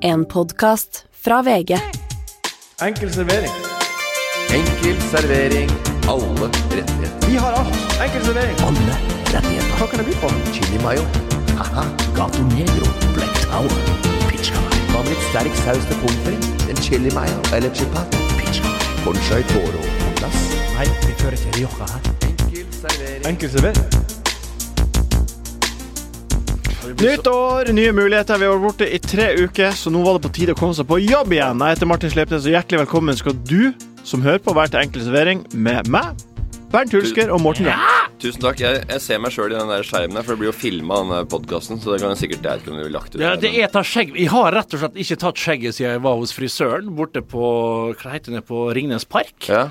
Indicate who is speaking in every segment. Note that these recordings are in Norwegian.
Speaker 1: En podkast fra VG.
Speaker 2: Enkel servering.
Speaker 3: Enkel servering. Alle rettigheter.
Speaker 2: Vi har alt. Enkel servering.
Speaker 3: Alle rettigheter.
Speaker 2: Hva kan det by på?
Speaker 3: Chili mayo. Haha. Gato negro. Black tower. Pizza. Hva med litt sterk saus til pommes frites? En chili mayo eller chipat? Pizza. Conchai toro på glass.
Speaker 2: Nei, vi kjører ikke Rioja her.
Speaker 3: Enkel servering.
Speaker 2: Enkel servering. Nytt år, nye muligheter. Vi har vært borte i tre uker, så nå var det på tide å komme seg på jobb igjen. Jeg heter Martin Slepnes, og hjertelig velkommen skal du som hører på, være til Enkel servering med meg, Bernt Hulsker og Morten Ramm.
Speaker 4: Tusen takk. Jeg, jeg ser meg sjøl i den der skjermen, der, for det blir jo filma, den podkasten. Så det kan jeg sikkert jeg kunne lagt ut.
Speaker 5: Ja,
Speaker 4: her,
Speaker 5: det
Speaker 4: men-
Speaker 5: er ta skjegg. Jeg har rett og slett ikke tatt skjegget siden jeg var hos frisøren borte på Hva heter det på Ringnes Park?
Speaker 4: ja.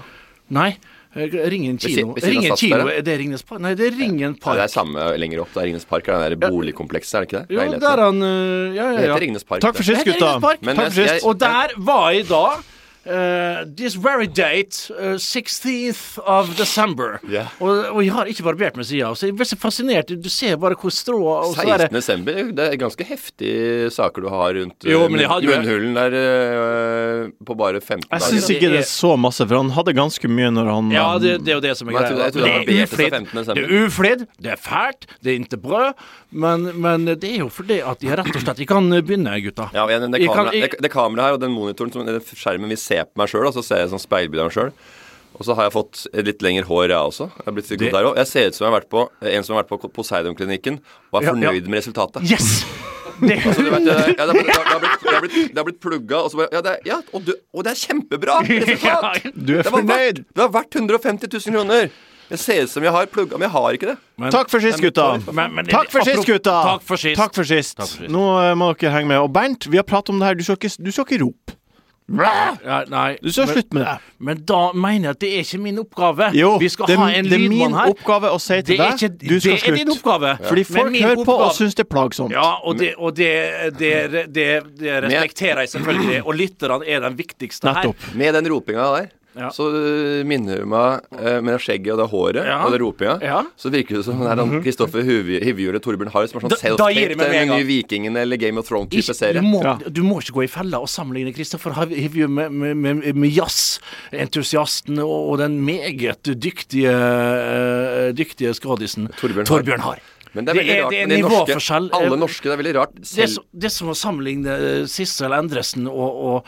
Speaker 5: Nei, eh, Ringen
Speaker 4: si-
Speaker 5: kino.
Speaker 4: ved siden av
Speaker 5: Ringen kino,
Speaker 4: Stadsberg, ja.
Speaker 5: er det Ringnes Park? Nei, det er Ringen
Speaker 4: Ja, det er
Speaker 5: Park.
Speaker 4: samme lenger opp. Det er Ringnes Park. Det er det der boligkomplekset, er det ikke det?
Speaker 5: Jo,
Speaker 4: Leilighetene.
Speaker 5: der han eh, Ja,
Speaker 4: Det
Speaker 5: ja,
Speaker 4: heter
Speaker 5: ja.
Speaker 4: Ringnes Park.
Speaker 2: Takk for
Speaker 4: det.
Speaker 2: sist,
Speaker 5: Det er
Speaker 2: gutta.
Speaker 5: Ringnes Park.
Speaker 4: Men
Speaker 2: Takk for
Speaker 4: jeg-
Speaker 2: sist.
Speaker 4: jeg-
Speaker 5: Og der var jeg da. eh, this very date, eh, 16th of December.
Speaker 4: Ja.
Speaker 5: Og, og jeg har ikke barbert meg siden. Så jeg ble så fascinert. Du ser bare hvor strå og så
Speaker 4: 16.
Speaker 5: er det-
Speaker 4: desember, det er ganske heftige saker du har rundt
Speaker 5: Jo,
Speaker 4: eh,
Speaker 5: men jeg hadde jo-
Speaker 4: munnhulen der eh, på bare 15
Speaker 2: Jeg
Speaker 4: dager.
Speaker 2: syns ikke det er så masse, for han hadde ganske mye når han
Speaker 5: Ja, det, det er jo det som er
Speaker 4: Men jeg
Speaker 5: greia.
Speaker 4: tror- jeg tror
Speaker 5: det er
Speaker 4: det var
Speaker 5: uflidd,
Speaker 4: BT fra 15.
Speaker 5: det er uflidd, det er fælt, det er ikke bra. Men, men det er jo fordi at de rett og slett De kan begynne, gutta.
Speaker 4: Ja, og igjen, det,
Speaker 5: Jeg kan-
Speaker 4: kamera,
Speaker 5: jeg-
Speaker 4: det, det kameraet her og den monitoren, som, den skjermen vi ser på meg sjøl, så ser jeg sånn speilbilde av meg sjøl. Og så har jeg fått litt lengre hår, jeg også. Jeg, har blitt det...
Speaker 5: Det-
Speaker 4: der også. jeg ser ut som jeg har vært på en som har vært på Poseidon-klinikken og er
Speaker 5: Ja,
Speaker 4: fornøyd
Speaker 5: ja.
Speaker 4: med resultatet.
Speaker 5: Yes! Det,
Speaker 4: Altså, du vet, det, ja, det, har blitt, det, har blitt, det, har blitt, det har blitt plugga, og så bare Ja, det er, ja og, du, og det er kjempebra resultat!
Speaker 5: Ja,
Speaker 2: Du er
Speaker 4: det var
Speaker 2: fornøyd.
Speaker 4: Verdt, det var verdt 150 000 kroner! Jeg ser ut som jeg har plugga, men jeg har ikke det.
Speaker 5: men-
Speaker 2: Takk for sist, gutta.
Speaker 5: men- men-
Speaker 2: Takk for sist,
Speaker 5: apropos-
Speaker 2: gutta!
Speaker 5: Takk for sist.
Speaker 2: Takk for sist.
Speaker 5: Takk for sist.
Speaker 2: Nå eh, må dere henge med. Og Bernt, vi har pratet om det her. Du skal ikke, du skal ikke rope.
Speaker 5: Ja, nei,
Speaker 2: Du skal
Speaker 5: men,
Speaker 2: slutte med det.
Speaker 5: men da mener jeg at det er ikke min oppgave.
Speaker 2: Jo,
Speaker 5: Vi skal
Speaker 2: det er
Speaker 5: ha
Speaker 2: min-
Speaker 5: en
Speaker 2: det er min
Speaker 5: lydmann her.
Speaker 2: oppgave å si til
Speaker 5: Det er,
Speaker 2: deg
Speaker 5: ikke,
Speaker 2: du
Speaker 5: det
Speaker 2: skal
Speaker 5: er din
Speaker 2: slutt.
Speaker 5: oppgave.
Speaker 2: Fordi folk
Speaker 5: Men min
Speaker 2: hører på og
Speaker 5: oppgave-
Speaker 2: syns det er plagsomt.
Speaker 5: Ja, og det, og det, det, det, det respekterer jeg selvfølgelig. Og lytterne er den viktigste her.
Speaker 2: Nettopp.
Speaker 4: Med den ropinga der,
Speaker 5: Ja.
Speaker 4: så øh, minner hun meg øh, med det skjegget og det håret
Speaker 5: Ja.
Speaker 4: og det ropinga.
Speaker 5: Ja. Mhm.
Speaker 4: Så virker det som det er sånn Kristoffer Hivju- Hivju eller Torbjørn Harry som har
Speaker 5: Da-
Speaker 4: sånn
Speaker 5: da
Speaker 4: self-tape
Speaker 5: gir
Speaker 4: til
Speaker 5: jeg meg med en
Speaker 4: den nye
Speaker 5: gang.
Speaker 4: Vikingen eller Game of Thrones-type
Speaker 5: Ikke-
Speaker 4: serie.
Speaker 5: Du må,
Speaker 2: Ja.
Speaker 5: du må ikke gå i fella og sammenligne Kristoffer Hivju med, med, med, med jazzentusiasten og, og den meget dyktige, eh, dyktige skadisen
Speaker 4: Torbjørn Har.
Speaker 5: Har.
Speaker 4: Men det er veldig rart
Speaker 5: det er
Speaker 4: med de norske,
Speaker 5: nivåforskjell.
Speaker 4: alle norske. Det er veldig rart.
Speaker 5: Det er,
Speaker 4: Selv,
Speaker 5: så, det er som å sammenligne eh, Sissel Endresen og, og,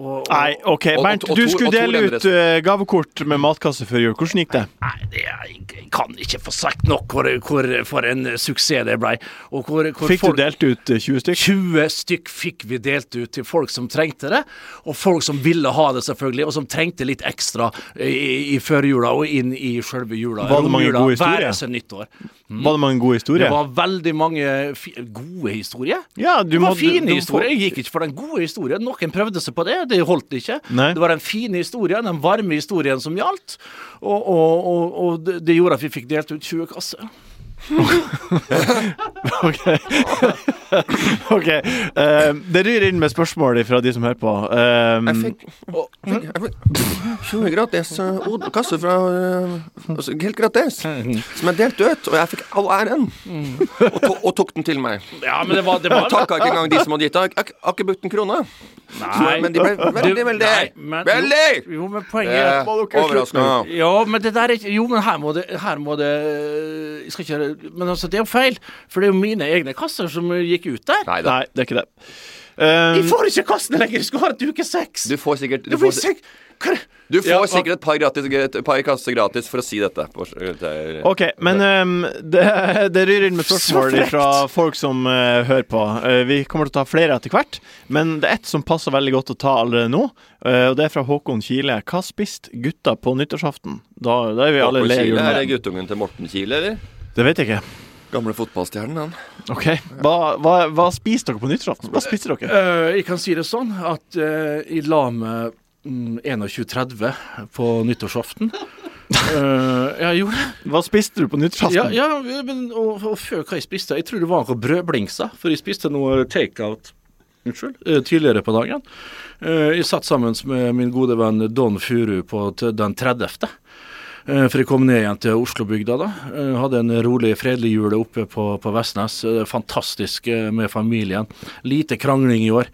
Speaker 5: og, og
Speaker 2: Nei, OK.
Speaker 4: og-
Speaker 2: Bernt,
Speaker 4: og- og
Speaker 2: du
Speaker 4: Tor-
Speaker 2: skulle
Speaker 4: og Tor
Speaker 2: dele ut
Speaker 4: Endresen.
Speaker 2: eh, gavekort med matkasse før jul. Hvordan gikk det?
Speaker 5: Nei, det er, jeg kan ikke få sagt nok hvor, hvor for en suksess det blei. Og hvor, hvor
Speaker 2: Fikk
Speaker 5: folk-
Speaker 2: du delt ut eh, 20 stykk?
Speaker 5: 20 stykk fikk vi delt ut til folk som trengte det, og folk som ville ha det, selvfølgelig, og som trengte litt ekstra eh, i, i førjula og inn i sjølve jula.
Speaker 2: Var det mange
Speaker 5: romjula,
Speaker 2: gode historier?
Speaker 5: Være seg nyttår.
Speaker 2: Var det mange gode
Speaker 5: Det
Speaker 2: historier?
Speaker 5: var veldig mange fi gode historier.
Speaker 2: Ja, du
Speaker 5: det var
Speaker 2: må- du-
Speaker 5: fine
Speaker 2: du må-
Speaker 5: historier. Jeg gikk ikke for den gode historien. Noen prøvde seg på det, det holdt ikke.
Speaker 2: Nei.
Speaker 5: Det var den fine historien, den varme historien som gjaldt, og, og, og, og det- det gjorde at vi fikk delt ut 20 kasser.
Speaker 2: OK. eh, det ryr inn med spørsmål fra de som hører på. Eh,
Speaker 5: Mm.
Speaker 4: Jeg fikk, å, fikk, jeg fikk 20 gratis øh, od- kasse fra øh, altså, Helt gratis.
Speaker 5: Mm.
Speaker 4: Som jeg delte ut, og jeg fikk all æren. Og, to, og tok den til meg.
Speaker 5: Ja, men det var, det var
Speaker 4: Jeg takka ikke engang de som hadde gitt den. Jeg jeg har ikke brukt en krone.
Speaker 5: Nei.
Speaker 4: Men de ble veldig,
Speaker 5: Du-
Speaker 4: veldig
Speaker 5: nei, men-
Speaker 4: Veldig! Eh,
Speaker 5: Jo, jo, men poenget er at-
Speaker 4: Overraska.
Speaker 5: Ja, men det der er ikke Jo, men her må det, her må det Jeg skal ikke Men altså, det er jo feil. For det er jo mine egne kasser som gikk ut der.
Speaker 4: Nei da.
Speaker 2: Nei, det er ikke det. Eh,
Speaker 5: Jeg får ikke kassene lenger! Jeg skal ha det til uke seks!
Speaker 4: Du får sikkert Du
Speaker 5: Jeg får
Speaker 4: får,
Speaker 5: sek- Hva er det?
Speaker 4: du får
Speaker 5: Ja,
Speaker 4: sikkert et par, gratis, et par kasser gratis for å si dette. På, eh, til-
Speaker 2: OK, men ehm, det, det ryr inn med spørsmål
Speaker 5: Så frekt.
Speaker 2: fra folk som eh, hører på. Eh, vi kommer til å ta flere etter hvert, men det er ett som passer veldig godt å ta allerede nå. eh, og Det er fra Håkon Kile. Hva spiste gutta på nyttårsaften? Da, da er vi alle le
Speaker 4: Håkon Kile, Er
Speaker 2: julemat.
Speaker 4: det guttungen til Morten Kile, eller?
Speaker 2: Det vet jeg ikke.
Speaker 4: Gamle fotballstjernen, han.
Speaker 2: OK. Hva, hva, hva spiste dere på nyttårsaften? Hva spiste dere?
Speaker 5: Eh, jeg kan si det sånn at eh, jeg la meg mm, 21.30 på nyttårsaften. Eh, ja, jeg gjorde det.
Speaker 2: Hva spiste du på
Speaker 5: Ja,
Speaker 2: nyttårsaften?
Speaker 5: ja men, og, og før hva jeg spiste Jeg tror det var noe brødblingser, for jeg spiste noe takeout Unnskyld, eh, tidligere på dagen. Eh, Jeg satt sammen med min gode venn Don Furu på t- den 30. eh, for jeg kom ned igjen til Oslobygda da. Eh, Hadde en rolig, fredelig jul oppe på, på Vestnes. Eh, Fantastisk eh, med familien. Lite krangling i år.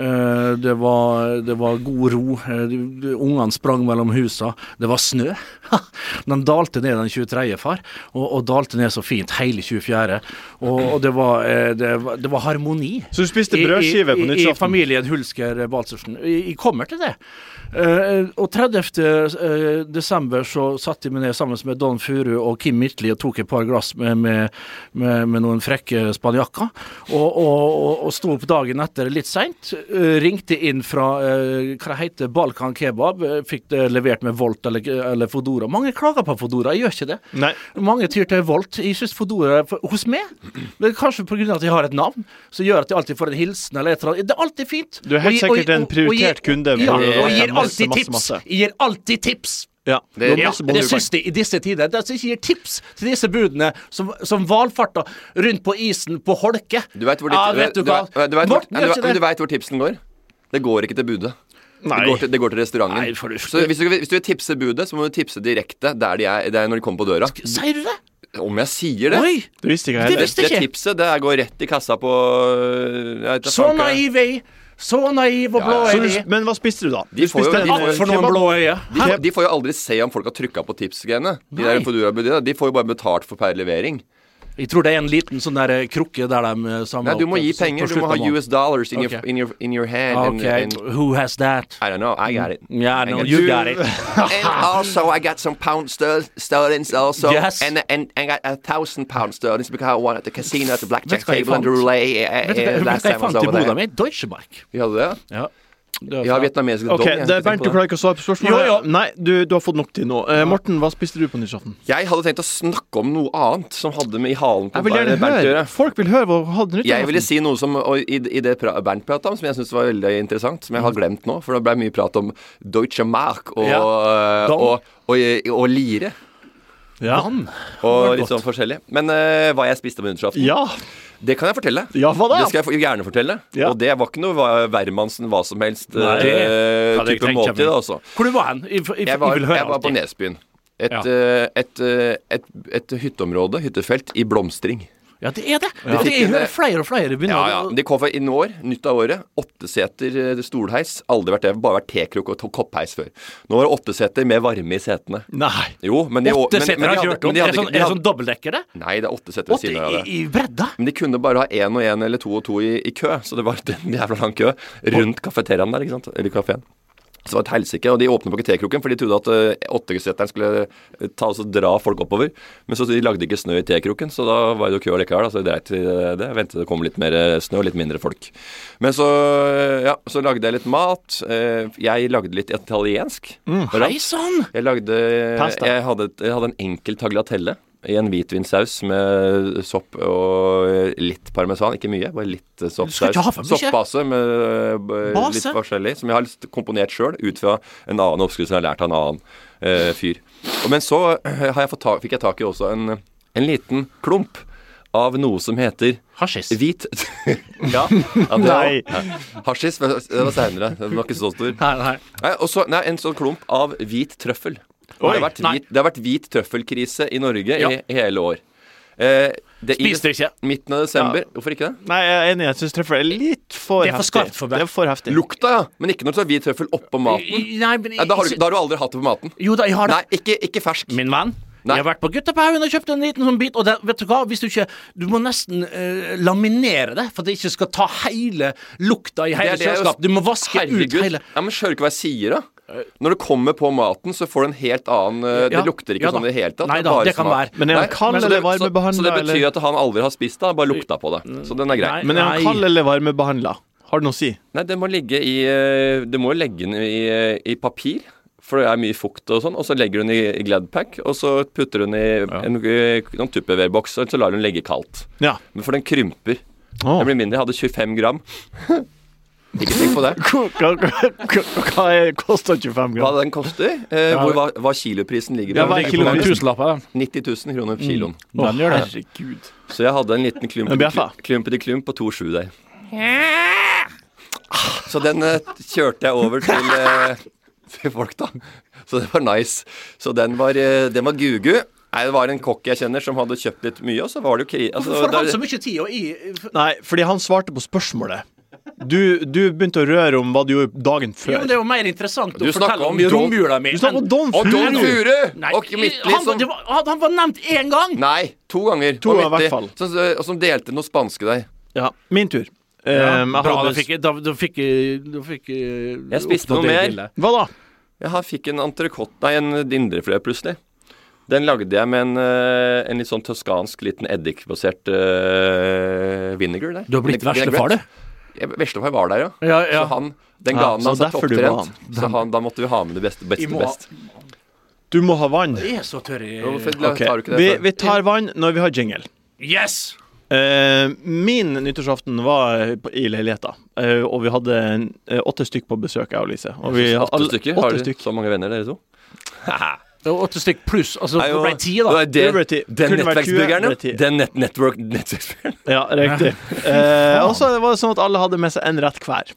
Speaker 5: Eh, Det var, det var god ro. Eh, de- de- Ungene sprang mellom husa. Det var snø. Den dalte ned den 23. far, og, og dalte ned så fint hele 24. Og, og det, var, eh, det, var, det var harmoni.
Speaker 2: Så du spiste
Speaker 5: I- i-
Speaker 2: brødskive på
Speaker 5: i- I
Speaker 2: nyttårsaften?
Speaker 5: familien Hulsker Balsersen. Jeg kommer til det. Eh, og 30. eh, desember så satt jeg meg ned sammen med Don Furu og Kim Midtli og tok et par glass med, med, med, med noen frekke spanjakker. Og, og, og, og sto opp dagen etter litt seint. eh, ringte inn fra eh, hva det heter Balkan Kebab. eh, Fikk det levert med Volt eller, eller Fodora. Mange klager på Fodora, jeg gjør ikke det.
Speaker 2: Nei.
Speaker 5: Mange tyr til Volt. Jeg syns Fodora for, Hos meg Men Kanskje pga. at jeg har et navn som gjør at jeg alltid får en hilsen eller et eller annet. Det er alltid fint.
Speaker 2: Du er helt
Speaker 5: Og jeg- og jeg-
Speaker 2: sikkert en
Speaker 5: og- og
Speaker 2: prioritert
Speaker 5: jeg-
Speaker 2: kunde på
Speaker 5: Ja, og
Speaker 2: Royal
Speaker 5: jeg gir
Speaker 2: Masse,
Speaker 5: alltid
Speaker 2: masse,
Speaker 5: tips.
Speaker 2: masse.
Speaker 5: Jeg gir alltid tips.
Speaker 2: Ja.
Speaker 4: Det er
Speaker 5: Ja,
Speaker 4: masse
Speaker 5: det
Speaker 4: bonuspoeng.
Speaker 5: syns de i disse tider. Det er så jeg gir tips til disse budene som, som valfarter rundt på isen på holke.
Speaker 4: Du veit hvor,
Speaker 5: ja,
Speaker 4: ditt-
Speaker 5: vet du
Speaker 4: du
Speaker 5: hva?
Speaker 4: vet- du vet hvor,
Speaker 5: Morten
Speaker 4: ja, du
Speaker 5: gjør
Speaker 4: vet- men
Speaker 5: ikke
Speaker 4: du
Speaker 5: det.
Speaker 4: vet hvor tipsen går? Det går ikke til budet. Det
Speaker 2: Nei.
Speaker 4: går til, det går til restauranten.
Speaker 5: Nei, for du-
Speaker 4: så hvis du, hvis du vil tipse budet, så må du tipse direkte der de er, det er når de kommer på døra.
Speaker 5: Sier du det?
Speaker 4: Om jeg sier det?
Speaker 5: Oi!
Speaker 2: Det visste ikke jeg
Speaker 5: Det
Speaker 2: heller.
Speaker 5: visste
Speaker 4: Det
Speaker 5: ikke.
Speaker 4: tipset det går rett i kassa på eh, jeg vet da
Speaker 5: Så
Speaker 4: faen hva det er.
Speaker 5: naiv er jeg. Så naiv
Speaker 4: Ja,
Speaker 5: og
Speaker 4: ja.
Speaker 5: blå
Speaker 2: Så
Speaker 5: er
Speaker 2: du,
Speaker 5: jeg.
Speaker 2: men hva spiste du, da?
Speaker 4: De får jo-
Speaker 2: spiste
Speaker 4: de
Speaker 2: en,
Speaker 4: får-
Speaker 5: Alt for
Speaker 2: eh,
Speaker 5: noen
Speaker 2: kebab?
Speaker 5: blå øyne.
Speaker 4: De, får- de får jo aldri se om folk har trykka på tipsgreiene. De, der
Speaker 5: Nei.
Speaker 4: Foodora-budene, de får jo bare betalt for per levering.
Speaker 5: Jeg tror det er en liten sånn der eh, krukke der de eh, samler
Speaker 4: Nei, du
Speaker 5: opp,
Speaker 4: må
Speaker 5: eh,
Speaker 4: gi
Speaker 5: på- på
Speaker 4: penger. Du
Speaker 5: slutten
Speaker 4: må ha
Speaker 5: av måneden.
Speaker 4: US dollars in, your,
Speaker 5: Ok.
Speaker 4: in, your, in your hand.
Speaker 5: Ok,
Speaker 4: And, and,
Speaker 5: who has that?
Speaker 4: I don't know. I got it. Eh,
Speaker 5: Yeah,
Speaker 4: I
Speaker 5: no,
Speaker 4: got
Speaker 5: you got it.
Speaker 4: and also I got some pound ster- sterlings also.
Speaker 5: Yes.
Speaker 4: And, and I got a thousand pound sterlings because I won at the casino at the blackjack
Speaker 5: Vet du hva jeg
Speaker 4: table and the
Speaker 5: fant?
Speaker 4: roulette. eh,
Speaker 5: Vet du hva
Speaker 4: eh,
Speaker 5: vet
Speaker 4: last
Speaker 5: du hva
Speaker 4: time I was
Speaker 5: jeg fant i
Speaker 4: over
Speaker 5: boda
Speaker 4: there.
Speaker 5: mi? Deutschemark.
Speaker 4: Vi hadde det?
Speaker 5: Ja. Det
Speaker 4: Jeg har vietnamesisk dong.
Speaker 2: Ok,
Speaker 4: jeg,
Speaker 2: det,
Speaker 4: tenk
Speaker 2: Bernt, du
Speaker 4: på det.
Speaker 2: klarer ikke å svare på spørsmålet.
Speaker 5: Jo, jo.
Speaker 2: Nei, du, du har fått nok til nå. Eh, Morten, hva spiste du på nyttårsaften?
Speaker 4: Jeg hadde tenkt å snakke om noe annet som hadde med i halen på
Speaker 2: Jeg vil gjerne
Speaker 4: Bernt å
Speaker 2: høre.
Speaker 4: gjøre.
Speaker 2: Folk vil høre hva du hadde
Speaker 4: Jeg ville
Speaker 2: nyttårsaften.
Speaker 4: si noe som, og i, i det pra- Bernt prata om, som jeg syntes var veldig interessant, som jeg
Speaker 5: Mm.
Speaker 4: har glemt nå. For det ble mye prat om Deutsche Mark og, eh,
Speaker 5: Ja. Dong.
Speaker 4: og, og, og, lire.
Speaker 2: Ja.
Speaker 4: Og
Speaker 5: var
Speaker 4: litt
Speaker 5: godt.
Speaker 4: sånn forskjellig. Men eh, hva jeg spiste på nyttårsaften,
Speaker 2: ja.
Speaker 4: det kan jeg fortelle.
Speaker 2: Ja, hva da?
Speaker 4: Det skal jeg for- gjerne fortelle.
Speaker 2: Ja.
Speaker 4: Og det var ikke noe hva- Wermansen hva som helst
Speaker 5: Nei,
Speaker 4: eh,
Speaker 5: det hadde jeg
Speaker 4: type
Speaker 5: ikke tenkt
Speaker 4: måltid,
Speaker 5: meg.
Speaker 4: altså.
Speaker 5: Hvor du var hen? Jeg, jeg, jeg,
Speaker 4: Jeg var,
Speaker 5: vil høre
Speaker 4: jeg var
Speaker 5: alt
Speaker 4: på
Speaker 5: det.
Speaker 4: Nesbyen. Et,
Speaker 5: Ja.
Speaker 4: eh, et, eh, et, et hytteområde, hyttefelt, i blomstring.
Speaker 5: Ja, det er det.
Speaker 4: Ja.
Speaker 5: det jeg hører flere og flere begynner
Speaker 4: eh, Ja, ja.
Speaker 5: å-
Speaker 4: Det kom fra innen år, nytt av året. Åtteseter eh, stolheis. Aldri vært det. Bare vært tekrukk og to- koppheis før. Nå var det åtteseter med varme i setene.
Speaker 2: Nei.
Speaker 4: Jo, men de,
Speaker 5: Åtte
Speaker 4: men-
Speaker 5: seter
Speaker 4: men de
Speaker 5: har
Speaker 4: hadde-
Speaker 5: kjørt om.
Speaker 4: men de
Speaker 5: Er
Speaker 4: hadde
Speaker 5: det sånn,
Speaker 4: ikke- de
Speaker 5: er det
Speaker 4: hadde-
Speaker 5: sånn dobbeltdekker, det?
Speaker 4: Nei, det er åtte seter ved
Speaker 5: Åtte
Speaker 4: siden av
Speaker 5: i,
Speaker 4: det.
Speaker 5: i bredda?
Speaker 4: Men de kunne bare ha én og én eller to og to i, i kø, så det var en jævla lang kø rundt kafeteriaen der, ikke sant. Eller kafeen. Så det var et helsike, og de åpnet på ikke tekroken, for de trodde at eh, åtteseteren skulle eh, ta oss og dra folk oppover. Men så de lagde ikke snø i tekroken, så da var det jo kø likevel. Da, så de dreit i det. Jeg ventet det kom litt mer eh, snø og litt mindre folk. Men så, eh, ja, så lagde jeg litt mat. Eh, Jeg lagde litt italiensk. Hvordan?
Speaker 5: Hei sann!
Speaker 4: Jeg lagde
Speaker 2: Pasta.
Speaker 4: Jeg hadde, et- jeg hadde en enkel tagliatelle i en hvitvinsaus med sopp og litt parmesan. Ikke mye, bare litt soppsaus.
Speaker 5: skal ikke ha for mye.
Speaker 4: Soppbase med eh,
Speaker 5: Base?
Speaker 4: litt forskjellig, som jeg har litt komponert sjøl ut fra en annen oppskrift som jeg har lært av en annen eh, fyr. Og, men så eh, har jeg fått tak, fikk jeg tak i også en, en liten klump av noe som heter
Speaker 5: Hasjis.
Speaker 4: Hvit Ja. ja det,
Speaker 2: Nei.
Speaker 4: Hasjis. Det var seinere. Den var ikke så stor.
Speaker 5: Nei, nei.
Speaker 4: Nei, og så, nei, en sånn klump av hvit trøffel.
Speaker 2: Oi,
Speaker 4: det, har vært
Speaker 5: nei.
Speaker 4: hvit, det har vært hvit trøffelkrise i Norge
Speaker 5: Ja.
Speaker 4: i, i hele år. Eh, det, i
Speaker 5: Spiste
Speaker 4: des-
Speaker 5: ikke.
Speaker 4: Midten av desember. Hvorfor ikke det?
Speaker 2: Nei, jeg er enig. Jeg syns treffer er litt for heftig.
Speaker 5: Det er for skarpt for meg.
Speaker 2: Det er for heftig.
Speaker 4: Lukta, ja. Men ikke når du har hvit trøffel oppå maten.
Speaker 5: I- Nei, men
Speaker 4: Nei, da, har du, da har du aldri hatt det på maten.
Speaker 5: Jo da, jeg har det.
Speaker 4: Nei, ikke, ikke fersk.
Speaker 5: Min venn,
Speaker 4: Nei.
Speaker 5: jeg har vært på Guttepaugen og kjøpt en liten sånn bit, og det, vet du hva, hvis du ikke Du må nesten eh, laminere det, for at det ikke skal ta hele lukta i hele
Speaker 4: Det er det jeg-
Speaker 5: kjøleskapet. Du må vaske ut
Speaker 4: Herregud.
Speaker 5: hele
Speaker 4: Ja, men Skjønner du ikke hva jeg sier, da? Når du kommer på maten, så får du en helt annen eh,
Speaker 5: Ja.
Speaker 4: Det lukter ikke
Speaker 5: Ja da.
Speaker 4: sånn i det hele tatt.
Speaker 5: Nei
Speaker 4: er
Speaker 5: da,
Speaker 4: bare
Speaker 5: det kan
Speaker 4: smak.
Speaker 5: være.
Speaker 2: Men er han
Speaker 4: Nei,
Speaker 2: kald
Speaker 4: men så
Speaker 2: eller
Speaker 4: det- så- Så
Speaker 2: varmebehandla,
Speaker 4: det betyr
Speaker 2: eller?
Speaker 4: at han aldri har spist det, han bare lukta på det. Så den er grei.
Speaker 5: Nei.
Speaker 2: Men er han kald eller varmebehandla? Har det noe å si?
Speaker 4: Nei, det må ligge i eh, Du må jo legge den i, eh, i papir, for det er mye fukt og sånn. Og så legger du den i, i Gladpack, og så putter du den i en, eh, noen tupperware-boks, og så lar du den ligge kaldt.
Speaker 2: Ja.
Speaker 4: Men for den krymper.
Speaker 2: Åh.
Speaker 4: Den blir mindre. Jeg hadde 25 gram. Ikke tenk på det.
Speaker 2: Hva, hva, hva- hva er- koster 25
Speaker 4: Hva
Speaker 2: gram?
Speaker 4: den koster? Eh, hvor, hva, hva kiloprisen ligger
Speaker 2: Ja,
Speaker 4: på?
Speaker 2: hva er
Speaker 5: Ligger på
Speaker 2: kiloen?
Speaker 5: mange tusenlapper, den.
Speaker 4: 90 000 kroner kiloen.
Speaker 2: Å,
Speaker 5: Den gjør det.
Speaker 2: Herregud.
Speaker 4: Så jeg hadde en liten
Speaker 2: Den bjeffa.
Speaker 4: klumpeti klump, klump på 2,7 der. Så den eh, kjørte jeg over til eh, til folk, da. Så det var nice. Så den var, eh, den var gugu. Nei, det var en kokk jeg kjenner som hadde kjøpt litt mye, og så var det jo kri...
Speaker 5: Hvorfor
Speaker 4: Altså,
Speaker 5: får
Speaker 4: det er-
Speaker 5: han så mye tid, og jeg
Speaker 2: Nei, fordi han svarte på spørsmålet. Du, du begynte å røre om hva du gjorde dagen
Speaker 5: Jo,
Speaker 2: før.
Speaker 5: men Det er jo mer interessant
Speaker 4: Du
Speaker 5: å fortelle
Speaker 4: snakker om
Speaker 5: om i
Speaker 4: Don-
Speaker 5: romjula mi.
Speaker 2: Du snakker om
Speaker 5: enn-
Speaker 2: Don
Speaker 4: og Don
Speaker 2: Furu!
Speaker 4: Furu!
Speaker 5: Nei,
Speaker 4: Og Midtly
Speaker 5: han,
Speaker 4: som
Speaker 5: det var, han- han var nevnt én gang!
Speaker 4: sånn- Nei, to ganger.
Speaker 2: To
Speaker 4: Og
Speaker 2: ganger i
Speaker 4: Midtly,
Speaker 2: hvert fall.
Speaker 4: Som, eh, og som delte noe spanske der.
Speaker 2: Ja, min tur.
Speaker 5: Ja,
Speaker 2: Ehm, jeg
Speaker 5: bra, da
Speaker 2: hadde-
Speaker 5: fikk jeg Da, da fikk jeg, da fikk jeg
Speaker 4: Jeg spiste noe
Speaker 5: oppdatert
Speaker 4: mer.
Speaker 5: bildet.
Speaker 2: Hva da?
Speaker 4: Jeg har- fikk en entrecôte Nei, en indrefløy plutselig. Den lagde jeg med en, eh, en litt sånn toskansk liten eddikbasert uh, vinegar der.
Speaker 5: Du har blitt
Speaker 4: Vin-
Speaker 5: verslefar, du.
Speaker 4: Jeg- Veslefar var der, ja.
Speaker 5: Ja, ja.
Speaker 4: Så han, den
Speaker 2: Ja,
Speaker 4: ganen
Speaker 2: så
Speaker 4: hans er
Speaker 2: derfor du var
Speaker 4: topptrent. Så han, da måtte vi ha med det beste, beste,
Speaker 5: Vi må-
Speaker 4: best.
Speaker 2: Du må ha vann.
Speaker 5: Jeg er så tørr i
Speaker 4: Hvorfor
Speaker 2: Ok,
Speaker 4: tar du ikke det?
Speaker 2: Vi,
Speaker 4: før?
Speaker 2: vi tar vann når vi har jingle.
Speaker 5: Yes!
Speaker 2: Eh, min nyttårsaften var på- i leiligheta, eh, og vi hadde en- eh, åtte stykk på besøk, jeg og Lise. Og vi,
Speaker 4: Åtte
Speaker 2: alle-
Speaker 4: stykker? Har
Speaker 2: Åtte
Speaker 4: dere
Speaker 2: stykk.
Speaker 4: så mange venner, dere to?
Speaker 5: Det var åtte stykk pluss. Altså,
Speaker 4: Nei,
Speaker 5: det
Speaker 4: jo,
Speaker 5: ble ti, da.
Speaker 4: Det
Speaker 2: Det
Speaker 4: var
Speaker 2: ble
Speaker 4: det,
Speaker 2: ti.
Speaker 4: den
Speaker 2: Kunne vært
Speaker 4: nettverksbyggeren,
Speaker 2: tjue, ble ti.
Speaker 4: ja. Den net network nettverksbyggeren.
Speaker 2: Ja, riktig. Eh, og så var det sånn at alle hadde med seg en rett hver.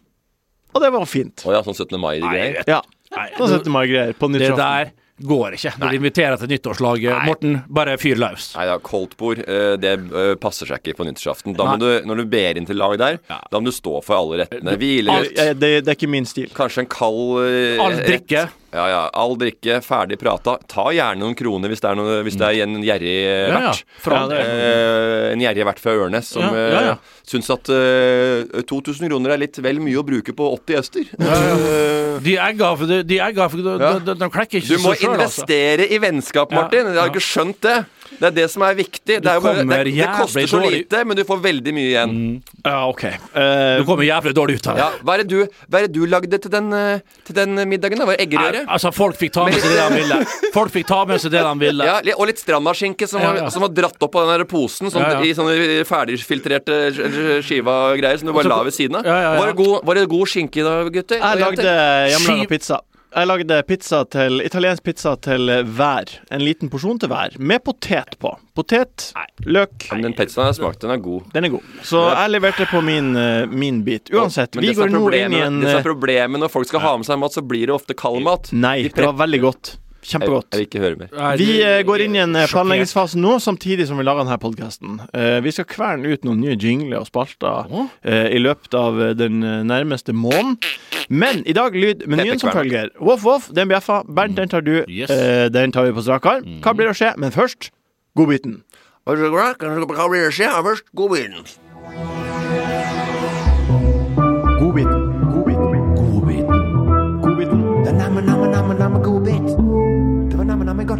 Speaker 2: Og det var fint.
Speaker 4: Å ja, sånn 17. mai-greier.
Speaker 2: Ja.
Speaker 5: Nei,
Speaker 2: Da setter man greier på
Speaker 5: det
Speaker 2: nyttårsaften.
Speaker 5: der går ikke. Når de inviterer til nyttårslaget, Morten, bare fyr løs.
Speaker 4: Nei da, koldtbord eh, det eh, passer seg ikke på nyttårsaften. Da må du, når du ber inn til lag der, da må du stå for alle rettene. Hvilegutt,
Speaker 2: Jeg- Det, det er ikke min stil.
Speaker 4: kanskje en kald eh,
Speaker 5: All drikke.
Speaker 4: rett. Ja, ja. All drikke, ferdig prata. Ta gjerne noen kroner hvis det er, noe, hvis det er en gjerrig eh,
Speaker 5: Mm. Ja, ja.
Speaker 4: vert.
Speaker 5: For all del.
Speaker 4: Eh, en gjerrig vert fra Ørnes som
Speaker 5: Ja, ja, ja.
Speaker 4: eh, syns at eh, 2000 kroner er litt vel mye å bruke på 80 øster. Eh,
Speaker 5: De egga, for de, de, egga, for de,
Speaker 4: Ja.
Speaker 5: de, de, de klekker
Speaker 4: Du
Speaker 5: ikke
Speaker 4: må
Speaker 5: seg sjøl, altså.
Speaker 4: investere i vennskap,
Speaker 5: Ja,
Speaker 4: Martin. Jeg har
Speaker 5: ja.
Speaker 4: ikke skjønt det. Det er det som er viktig. Det, er jo bare, det,
Speaker 5: kommer
Speaker 4: det koster
Speaker 5: jævlig
Speaker 4: så
Speaker 5: dårlig. Mm.
Speaker 4: lite, men du får veldig mye igjen.
Speaker 2: Ja, OK. Eh,
Speaker 5: Du kommer jævlig dårlig ut av det.
Speaker 4: Ja, hva er det du, hva er det du lagde til den, eh, til den middagen? da? Var det
Speaker 5: Nei,
Speaker 4: eggerøre?
Speaker 5: altså, folk fikk ta med seg det de ville. Folk fikk ta med seg det de ville.
Speaker 4: Ja, li- og litt strandaskinke som, var-
Speaker 5: Ja, ja.
Speaker 4: som var dratt opp av den der posen sånn,
Speaker 5: Ja, ja.
Speaker 4: i sånne ferdigfiltrerte sk- skiva og greier som du bare
Speaker 5: så-
Speaker 4: la ved siden av.
Speaker 5: Ja, ja, ja.
Speaker 4: Var, det god, var det god skinke i dag, gutter?
Speaker 2: jeg
Speaker 4: Og jenter?
Speaker 2: lagde hjemmelaga
Speaker 5: Skiv-
Speaker 2: pizza. Jeg lagde pizza til, italiensk pizza til hver. En liten porsjon til hver, med potet på. Potet, løk
Speaker 4: Men Den pizzaen jeg smakte, den er god.
Speaker 2: Den er god. Så jeg leverte på min, eh, min bit. Uansett,
Speaker 4: Men
Speaker 2: vi
Speaker 4: det som
Speaker 2: går
Speaker 4: er
Speaker 2: nå
Speaker 4: problemet-
Speaker 2: inn i en
Speaker 4: Det som er
Speaker 2: eh,
Speaker 4: problemet når folk skal ha med seg mat, så blir det ofte kald mat.
Speaker 2: Nei,
Speaker 4: De
Speaker 2: det var
Speaker 4: prepper-
Speaker 2: veldig godt.
Speaker 4: jeg, jeg
Speaker 2: Kjempegodt.
Speaker 4: vil ikke høre mer.
Speaker 5: Nei,
Speaker 2: Vi
Speaker 5: de-
Speaker 2: eh, går inn i en eh,
Speaker 5: sjokkert.
Speaker 2: planleggingsfase nå, samtidig som vi lager denne podkasten. Vi skal kverne ut noen nye jingler og spalter eh, i løpet av eh, den eh, nærmeste måneden. Men i dag lyd menyen som følger.
Speaker 4: Pepperkvern.
Speaker 2: Voff, voff, den bjeffa. Bernt, den tar du.
Speaker 5: Yes. Mm.
Speaker 2: Eh, Den tar vi på strak arm. Hva blir å skje? Men først godbiten.
Speaker 4: Hva blir det skje? Først godbyen.
Speaker 2: Godbiten.
Speaker 3: Godbit.
Speaker 2: Godbiten.
Speaker 3: Det er namme, namme, namme, namme godbit. Det var namme, namme godt.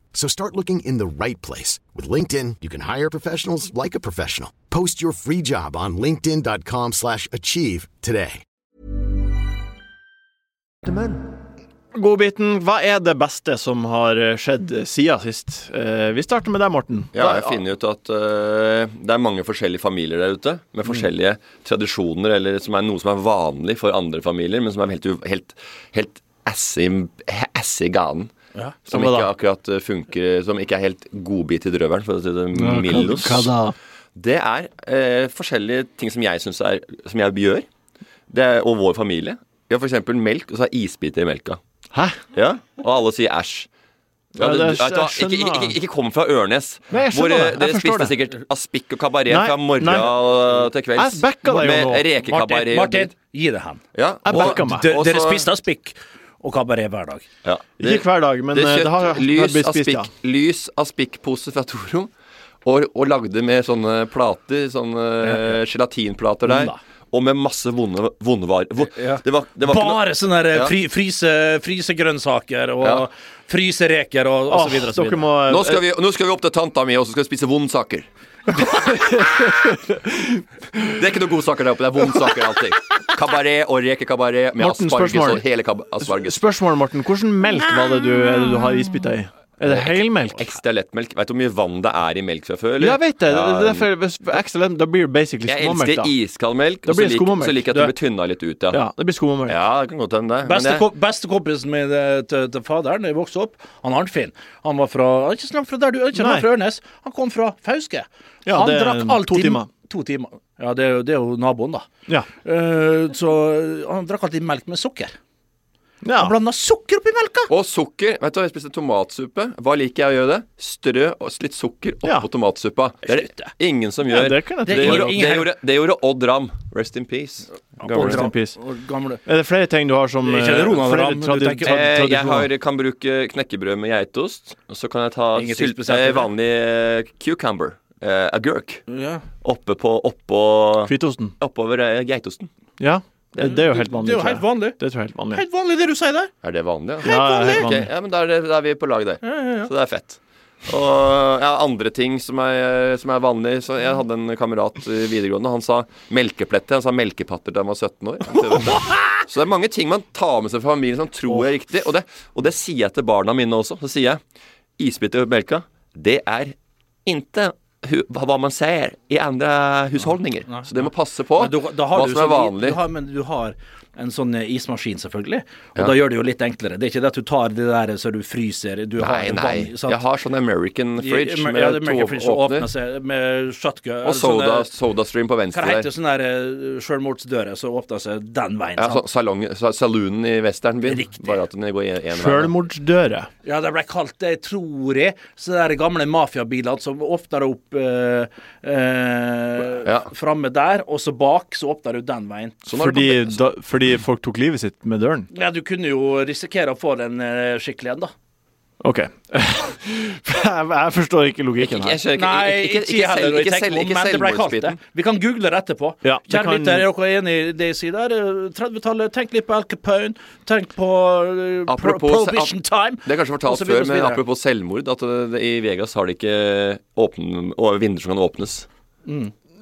Speaker 6: So start looking in the right place. With LinkedIn, you can hire professionals like a professional. Post your free job on linkedin.com/achieve slash achieve today.
Speaker 2: Godbiten, hva er det beste som har eh, skjedd eh, siden sist? Eh, Vi starter med deg, Morten.
Speaker 4: Ja,
Speaker 2: Hva-
Speaker 4: jeg finner ut at øh, det er mange forskjellige familier der ute,
Speaker 2: Mm.
Speaker 4: med forskjellige tradisjoner, eller som er noe som er vanlig for andre familier, men som er helt, u- helt, helt asse i- asse i ganen. som
Speaker 2: hva
Speaker 4: ikke
Speaker 2: da?
Speaker 4: akkurat øh, funker Som ikke er helt godbit i drøvelen, for å si det mildos. Det er eh, forskjellige ting som jeg synes er Som jeg gjør, det er, og vår familie. Vi har f.eks. melk, og så er isbiter i melka.
Speaker 2: Hæ?
Speaker 4: Ja, og alle sier æsj. Ja,
Speaker 2: Ja,
Speaker 4: du,
Speaker 2: det
Speaker 4: du,
Speaker 2: er-
Speaker 4: vet du hva,
Speaker 2: jeg
Speaker 4: ikke, ikke,
Speaker 2: skjønner.
Speaker 4: ikke, ikke kom fra Ørnes.
Speaker 2: Nei, jeg skjønner
Speaker 4: hvor eh,
Speaker 2: det. Jeg
Speaker 4: dere
Speaker 2: forstår
Speaker 4: spiste
Speaker 2: det.
Speaker 4: sikkert aspik og kabaret
Speaker 2: Nei,
Speaker 4: fra morgen
Speaker 2: nei.
Speaker 4: og til kvelds.
Speaker 2: Jeg backa deg jo
Speaker 4: med
Speaker 2: nå.
Speaker 4: rekekabaret.
Speaker 5: Martin,
Speaker 4: og
Speaker 5: Martin,
Speaker 4: dritt.
Speaker 5: gi det hen.
Speaker 4: Ja,
Speaker 2: Jeg
Speaker 4: og-
Speaker 2: backa meg.
Speaker 5: D-
Speaker 4: og
Speaker 5: Dere
Speaker 4: så-
Speaker 5: spiste aspik og kabaret hver dag.
Speaker 4: ja.
Speaker 2: Ikke hver dag, men
Speaker 4: det
Speaker 2: eh,
Speaker 4: er
Speaker 2: det har,
Speaker 4: kjøtt,
Speaker 2: har
Speaker 4: lys,
Speaker 2: blitt spist,
Speaker 4: aspik,
Speaker 2: ja.
Speaker 4: lys aspikpose fra Toro. Og, og lagde med sånne plater, sånne eh, gelatinplater der.
Speaker 5: Mm, da.
Speaker 4: Og med masse vonde, vonde varer. Vo- Det var, det var ikke noe-
Speaker 5: Bare sånne der,
Speaker 4: Ja.
Speaker 5: fri, fryse, frysegrønnsaker og
Speaker 4: Ja.
Speaker 5: frysereker og, og så videre. og så
Speaker 2: Dere
Speaker 5: videre.
Speaker 2: må eh,
Speaker 4: nå skal, vi, nå skal vi opp til tanta mi, og så skal vi spise vondsaker. det er ikke noen gode saker der oppe. Det er vondsaker alltid. Kabaret og rekekabaret med
Speaker 2: Morten,
Speaker 4: asparges
Speaker 2: spørsmål.
Speaker 4: og hele kab- asparges.
Speaker 2: Spørsmål, Morten. Hvordan melk var det du, er det du har isbiter i? Er det helmelk?
Speaker 4: Ekstra lettmelk. Veit du hvor mye vann det er i melk fra før? eller?
Speaker 2: Ja, jeg vet det. Det
Speaker 4: Ja,
Speaker 2: er derfor hvis ekstra lem, da blir det basically
Speaker 4: Jeg
Speaker 2: skummelk,
Speaker 4: elsker
Speaker 2: da.
Speaker 4: iskald melk,
Speaker 2: Da
Speaker 4: og så
Speaker 2: blir det
Speaker 4: liker,
Speaker 2: skummelk.
Speaker 4: så liker jeg at det blir tynna litt ut, ja.
Speaker 2: Ja, det blir skummelk.
Speaker 4: Ja, det kan godt hende, det. Men
Speaker 5: Beste,
Speaker 4: det-
Speaker 5: ko- beste kompisen min eh, til, til faderen da jeg vokste opp, han Arnfinn Han var fra, han er ikke så langt fra der du han er ikke så
Speaker 2: Nei.
Speaker 5: langt fra Ørnes. Han kom fra Fauske.
Speaker 2: Ja,
Speaker 5: han
Speaker 2: det er to timer.
Speaker 5: to timer. Ja, det er, jo- det er jo naboen, da.
Speaker 2: Ja.
Speaker 5: Eh, så han drakk alltid melk med sukker.
Speaker 2: Ja.
Speaker 5: Han blanda sukker oppi melka!
Speaker 4: Og sukker. Vet du hva, Jeg spiste tomatsuppe. Hva liker jeg å gjøre det? Strø og litt sukker oppå
Speaker 2: Ja.
Speaker 4: tomatsuppa. Det er det ingen som gjør.
Speaker 2: Ja, det kan jeg
Speaker 4: det,
Speaker 2: tro.
Speaker 4: gjorde,
Speaker 5: Ingen-
Speaker 4: det, gjorde, det gjorde Odd Ram. Rest in peace. Gamle.
Speaker 2: Odd Rest Ram. in peace.
Speaker 5: Og gamle.
Speaker 2: Er det flere ting du har som
Speaker 5: Det er ikke
Speaker 2: eh,
Speaker 5: Ronald
Speaker 2: flere
Speaker 5: Ramm, du
Speaker 2: tradi-
Speaker 5: tenker-
Speaker 2: tradi-
Speaker 4: Eh, jeg
Speaker 2: tradisjoner?
Speaker 4: har, kan bruke knekkebrød med geitost. Og så kan jeg ta
Speaker 5: Ingenting
Speaker 4: sylt,
Speaker 5: spesielt
Speaker 4: eh,
Speaker 5: med det.
Speaker 4: vanlig eh, cucumber, eh, agurk,
Speaker 5: Ja.
Speaker 4: oppe på, oppå,
Speaker 2: Hvitosten.
Speaker 4: oppover eh, geitosten.
Speaker 2: Ja. Det, det er jo helt vanlig.
Speaker 5: Det er jo
Speaker 2: tror jeg.
Speaker 5: helt vanlig.
Speaker 2: Det tror jeg er helt vanlig.
Speaker 5: Helt vanlig, det du sier der.
Speaker 4: Er det vanlig?
Speaker 2: Ja, det er helt
Speaker 4: Ok,
Speaker 2: vanlig.
Speaker 4: ja, men da er, det, da er vi på lag der. Så det er fett. Og ja, andre ting som er, som er vanlig så Jeg hadde en kamerat i videregående. Han sa melkepletter. Han sa melkepatter da han var 17 år. Så det er mange ting man tar med seg fra familien som tror er riktig. Og det, og det sier jeg til barna mine også. Så sier jeg isbiter i melka, det er ikke hu- hva man ser i andre husholdninger. Så det må passe på
Speaker 5: Men du, da har
Speaker 4: hva
Speaker 5: du
Speaker 4: som er
Speaker 5: sånn-
Speaker 4: vanlig.
Speaker 5: Du har, men du har en sånn eh, ismaskin, selvfølgelig. Og
Speaker 4: Ja.
Speaker 5: da gjør det jo litt enklere. Det er ikke det at du tar det der eh, så du fryser du har
Speaker 4: Nei,
Speaker 5: en
Speaker 4: nei.
Speaker 5: vann, sant?
Speaker 4: Jeg har sånn American fridge
Speaker 5: ja,
Speaker 4: med
Speaker 5: ja, det er
Speaker 4: to
Speaker 5: American fridge som
Speaker 4: åpner.
Speaker 5: åpner seg sånn, med shotgun
Speaker 4: Og
Speaker 5: eller sånne-
Speaker 4: soda, SodaStream på
Speaker 5: Hva
Speaker 4: venstre
Speaker 5: det
Speaker 4: der.
Speaker 5: heter det, sånn der eh, selvmordsdører som åpner seg den veien?
Speaker 4: Ja,
Speaker 5: sant?
Speaker 4: så- salong, sa- saloonen i Westernbyen.
Speaker 5: Riktig.
Speaker 4: Bare at den går i en vei.
Speaker 2: Sjølmordsdører.
Speaker 5: Ja, det ble kalt det, tror jeg. Så det er gamle mafiabiler som åpner opp eh, eh,
Speaker 4: Ja.
Speaker 5: framme der, og så bak, så åpner du den veien.
Speaker 4: Sånn har
Speaker 2: Fordi,
Speaker 4: det kommet-
Speaker 2: da, fordi folk tok livet sitt med døren?
Speaker 5: Ja, du kunne jo risikere å få den eh, skikkelig en, da.
Speaker 2: OK. jeg, jeg forstår ikke logikken
Speaker 4: Jeg
Speaker 2: her.
Speaker 4: skjønner ikke-
Speaker 5: Nei,
Speaker 4: ikke- ikke-
Speaker 5: ikke
Speaker 4: ikke selv-
Speaker 5: heller.
Speaker 4: ikke
Speaker 5: jeg
Speaker 4: selv-
Speaker 5: tenker
Speaker 4: ikke
Speaker 5: på, men det ble kalt det.
Speaker 4: selvmordsbiten.
Speaker 5: Vi kan google det etterpå.
Speaker 2: Ja, det
Speaker 5: Kjære
Speaker 2: kan-
Speaker 5: lytter, er dere enig i det jeg sier der? Eh, 30-tallet, tenk litt på Al Capone. Tenk på eh, pro
Speaker 4: Apropos-
Speaker 5: prohibition time.
Speaker 4: Det er kanskje
Speaker 5: Og
Speaker 4: fortalt
Speaker 5: så videre,
Speaker 4: før,
Speaker 5: og så
Speaker 4: men
Speaker 5: videre.
Speaker 4: apropos selvmord, at eh, i Vegas har de ikke åpne, å, vinduer som kan åpnes.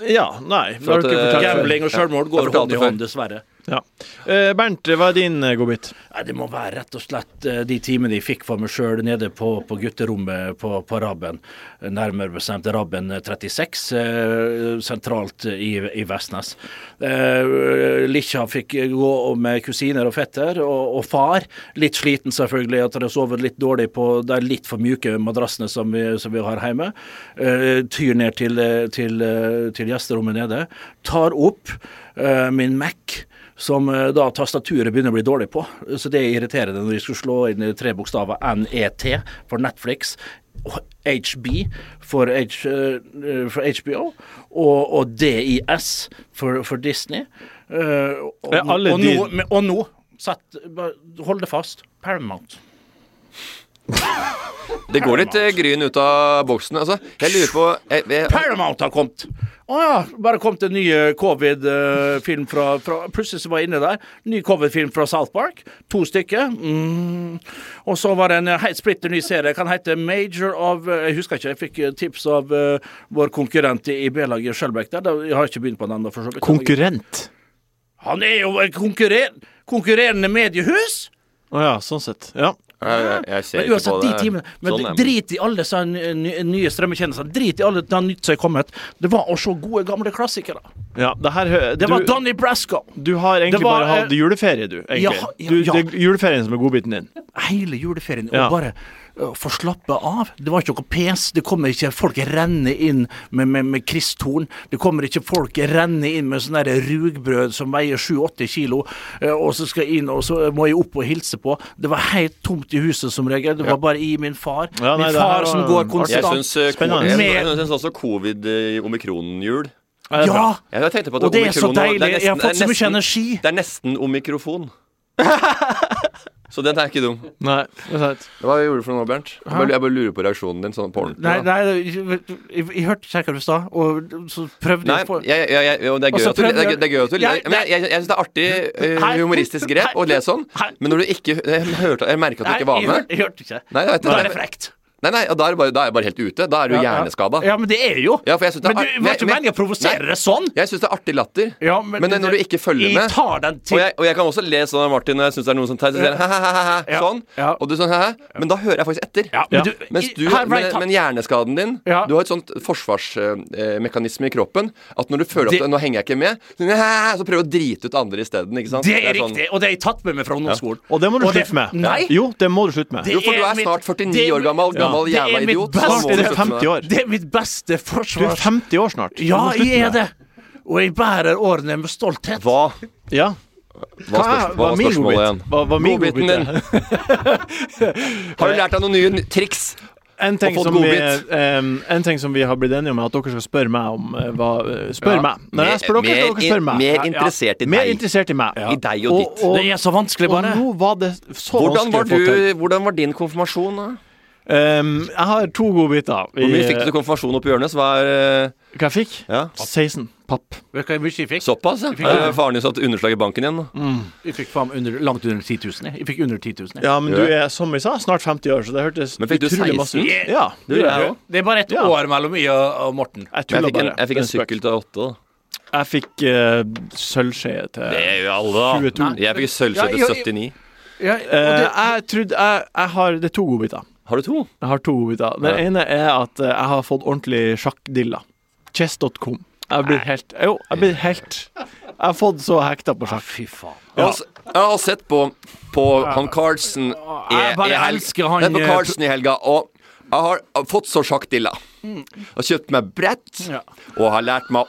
Speaker 2: Ja, nei. det har
Speaker 4: at,
Speaker 2: du ikke
Speaker 4: eh,
Speaker 2: fortalt før.
Speaker 5: Gambling og selvmord går
Speaker 4: Jeg fortalte
Speaker 5: hånd i
Speaker 4: før.
Speaker 5: hånd, dessverre.
Speaker 2: Ja. Eh, Bernt, hva er din eh, godbit?
Speaker 5: Nei, Det må være rett og slett eh, de timene jeg fikk for meg sjøl nede på, på gutterommet på, på Rabben. Nærmere bestemt Rabben 36, eh, sentralt i, i Vestnes. Eh, Likkja fikk gå med kusiner og fetter, og, og far. Litt sliten selvfølgelig, at de sover litt dårlig på de litt for mjuke madrassene som vi, som vi har hjemme. Eh, Tyr ned til, eh, til, eh, til gjesterommet nede. Tar opp eh, min Mac som eh, da tastaturet begynner å bli dårlig på. Så det er irriterende når de skulle slå inn i tre bokstaver NET for Netflix, og HB for, H, eh, for HBO og, og DIS for, for Disney. Eh, og,
Speaker 2: Er alle
Speaker 5: og,
Speaker 2: de-
Speaker 5: nå, men- og nå sett, bare Hold det fast. Paramount.
Speaker 4: Det går litt eh, gryn ut av boksen. Altså, jeg lurer på jeg, jeg,
Speaker 5: Paramount har kommet! Å ja. Bare kom til en ny eh, covid-film fra, fra Plutselig så var jeg inne der. Ny covid-film fra South Park. To stykker. Mm. Og så var det en eh, helt splitter ny serie. Kan hete Major of eh, Jeg husker ikke, jeg fikk eh, tips av eh, vår konkurrent i B-laget, Skjelbæk der. Da- Jeg har ikke begynt på den ennå, for så vidt.
Speaker 2: Konkurrent.
Speaker 5: Han er jo et konkurrer konkurrerende mediehus!
Speaker 2: Å ja, sånn sett. Ja.
Speaker 4: jeg, jeg ser
Speaker 5: Men
Speaker 4: ikke på
Speaker 5: uansett, de
Speaker 4: det.
Speaker 5: timene Men
Speaker 4: Sånn er det.
Speaker 5: drit i alle sånne nye, nye strømmetjenester. Drit i alle det nytt som er kommet. Det var å se gode, gamle klassikere.
Speaker 2: ja det her hø-
Speaker 5: Det var
Speaker 2: du,
Speaker 5: Donnie Brasco.
Speaker 2: du har egentlig
Speaker 5: Det var,
Speaker 2: bare hatt
Speaker 5: eh,
Speaker 2: juleferie, du. egentlig.
Speaker 5: ja, ja,
Speaker 2: Du,
Speaker 5: ja.
Speaker 2: det er juleferien som er godbiten din.
Speaker 5: Hele juleferien.
Speaker 2: Ja.
Speaker 5: Og bare øh, få slappe av. Det var ikke noe pes. Det kommer ikke folk renner inn med, med, med kristtorn. Det kommer ikke folk renner inn med sånne der rugbrød som veier 7-8 kilo, øh, og så skal jeg inn, og så må jeg opp og hilse på. Det var helt tomt i huset som regel. Det var bare i min far.
Speaker 2: Ja, nei,
Speaker 5: min
Speaker 2: det her var
Speaker 5: far som går
Speaker 4: Jeg
Speaker 5: konstant.
Speaker 4: syns eh, ko-
Speaker 2: Spennende.
Speaker 4: jeg-
Speaker 5: Med-
Speaker 4: jeg syns også eh, covid-omikron-jul.
Speaker 2: Ja, det er
Speaker 5: ja!
Speaker 2: bra.
Speaker 4: Jeg jeg tenkte på at
Speaker 5: Og det er så
Speaker 4: omikron nå-
Speaker 5: deilig. Jeg har
Speaker 4: nesten-
Speaker 5: fått så
Speaker 4: det er
Speaker 5: mye
Speaker 4: nesten-
Speaker 5: energi.
Speaker 4: Det er nesten omikrofon. Så den er ikke dum.
Speaker 2: Nei, det er sant.
Speaker 4: Hva gjorde du for noe, Bernt? Jeg bare, jeg bare lurer på reaksjonen din sånn på ordentlig.
Speaker 5: Nei,
Speaker 4: da.
Speaker 5: nei, jeg, jeg, jeg hørte ikke hva du sa, og så prøvde
Speaker 4: Nei,
Speaker 5: jeg å få
Speaker 4: jeg, jeg, jeg, jo, det er
Speaker 5: Og
Speaker 4: gøy
Speaker 5: så
Speaker 4: at du, det er, gøy- det er gøy at du
Speaker 5: Jeg-
Speaker 4: Men jeg, jeg, jeg syns det er artig eh,
Speaker 5: Hei.
Speaker 4: humoristisk grep å
Speaker 5: Hei.
Speaker 4: le sånn,
Speaker 5: Hei.
Speaker 4: men når du ikke Jeg, hørte, jeg merka at
Speaker 5: Nei,
Speaker 4: du ikke var
Speaker 5: jeg,
Speaker 4: med.
Speaker 5: hørte, jeg hørte ikke.
Speaker 4: Nei, jeg vet
Speaker 5: Da er
Speaker 4: det.
Speaker 5: det frekt.
Speaker 4: Nei, nei, og da er, det bare, da er jeg bare helt ute. Da er du
Speaker 5: Ja, ja.
Speaker 4: hjerneskada.
Speaker 5: Ja, men det er jo.
Speaker 4: Ja, for jeg synes det er
Speaker 5: men
Speaker 4: ar-
Speaker 5: du var ikke
Speaker 4: men-
Speaker 5: meningen å provosere
Speaker 4: Nei.
Speaker 5: det sånn.
Speaker 4: Jeg syns det er artig latter,
Speaker 5: Ja,
Speaker 4: men, det- når du ikke følger
Speaker 5: jeg
Speaker 4: med
Speaker 5: tar den
Speaker 4: og
Speaker 5: til
Speaker 4: jeg, og jeg kan også le sånn av Martin når jeg syns det er noen som teit, så sier han, «Hæ, hæ, hæ, hæ, hæ»,
Speaker 5: Ja.
Speaker 4: sånn.
Speaker 5: Ja.
Speaker 4: Og du sånn hæ, hæ. Men da hører jeg faktisk etter.
Speaker 5: Ja, men du-
Speaker 4: Mens du,
Speaker 5: her,
Speaker 4: men,
Speaker 5: right,
Speaker 4: men hjerneskaden din
Speaker 5: Ja.
Speaker 4: Du har et sånt forsvarsmekanisme i kroppen at når du føler at
Speaker 5: Det-
Speaker 4: nå henger jeg ikke med, så, «Hæ, hæ, hæ», så prøver du å drite ut andre isteden. Ikke sant?
Speaker 5: Det er
Speaker 4: sånn-
Speaker 5: riktig, og det har jeg tatt med meg fra ungdomsskolen.
Speaker 2: Og det må du
Speaker 5: Og det-
Speaker 2: slutte med.
Speaker 5: Nei.
Speaker 2: Jo, det må du slutte med.
Speaker 5: Det
Speaker 4: Jo, for du er
Speaker 5: mitt-
Speaker 4: snart 49
Speaker 5: det er
Speaker 4: år
Speaker 5: mitt-
Speaker 4: gammel, gammel
Speaker 5: Ja. Det
Speaker 4: jævla
Speaker 5: er mitt
Speaker 4: idiot. så må
Speaker 5: beste-
Speaker 2: Snart er du
Speaker 4: slutte med
Speaker 2: 50 år.
Speaker 5: Det er mitt beste
Speaker 2: Du er
Speaker 5: forsvar.
Speaker 2: 50 år snart. Du
Speaker 5: Ja,
Speaker 2: må slutte
Speaker 5: jeg er
Speaker 2: med
Speaker 5: det. Og jeg bærer årene med stolthet.
Speaker 4: Hva,
Speaker 2: Ja.
Speaker 4: hva, spørs, hva var spørsmålet igjen?
Speaker 2: Hva var min godbit?
Speaker 4: Godbiten din. Har du lært deg noen nye triks?
Speaker 2: En ting,
Speaker 4: Og fått
Speaker 2: som vi,
Speaker 4: godbit.
Speaker 2: em, en ting som vi har blitt enige om, er at dere skal spørre meg om eh, hva eh, Spør
Speaker 5: Ja.
Speaker 2: meg. Når jeg spør dere, skal dere spørre meg.
Speaker 4: mer interessert i
Speaker 2: Mer
Speaker 4: deg.
Speaker 2: interessert i meg.
Speaker 4: I deg og ditt.
Speaker 5: Det er så vanskelig,
Speaker 2: og
Speaker 5: bare.
Speaker 2: nå var det så
Speaker 4: Hvordan var,
Speaker 2: vanskelig å få til.
Speaker 4: du, hvordan var din konfirmasjon? da?
Speaker 2: Em, jeg har to godbiter. i-
Speaker 4: Hvor mye fikk du til konfirmasjon oppe i hjørnet? Så var, eh,
Speaker 2: Hva jeg fikk?
Speaker 4: ja.
Speaker 2: 16 papp.
Speaker 5: Vet du hva mye jeg fikk? Mm.
Speaker 4: Såpass, ja. Her er Faren din satt underslag i banken igjen. da.
Speaker 5: Jeg fikk faen under, langt under 10 000. Jeg, jeg fikk under 10 000. jeg.
Speaker 2: Ja, men du er, som jeg sa, snart 50 år, så det hørtes
Speaker 4: Men fikk du
Speaker 2: utrolig masse ut.
Speaker 5: 16?
Speaker 2: Ja,
Speaker 4: Du, jeg òg.
Speaker 5: Det er bare ett
Speaker 2: Ja.
Speaker 5: år mellom meg og, og Morten.
Speaker 2: Jeg
Speaker 4: Jeg
Speaker 2: tulla
Speaker 4: fikk en,
Speaker 2: bare.
Speaker 4: jeg
Speaker 2: Det
Speaker 4: fikk
Speaker 2: er
Speaker 4: en sykkel til åtte. da.
Speaker 2: spøk. Jeg fikk eh, sølvskje til
Speaker 4: Det gjør alle,
Speaker 2: 22.
Speaker 4: Jeg fikk sølvskje
Speaker 5: Ja,
Speaker 4: til
Speaker 5: jeg-
Speaker 4: 79.
Speaker 5: Ja,
Speaker 2: Eh, jeg trodde jeg, jeg har Det er to godbiter.
Speaker 4: Har du to?
Speaker 2: Jeg har to godbiter. Den
Speaker 4: Ja.
Speaker 2: ene er at eh, jeg har fått ordentlig sjakkdilla. Chess.com. Jeg blir helt Jo, jeg blir helt Jeg har fått så hekta på sjakk.
Speaker 5: Fy faen.
Speaker 4: Jeg har, s- jeg har sett på, på han Carlsen i,
Speaker 5: Jeg bare
Speaker 4: i helg-
Speaker 5: elsker han,
Speaker 4: Jeg er på
Speaker 5: eh,
Speaker 4: Carlsen i helga, og jeg har fått så sjakkdilla. Har kjøpt meg brett,
Speaker 5: Mm. Ja.
Speaker 4: og har lært meg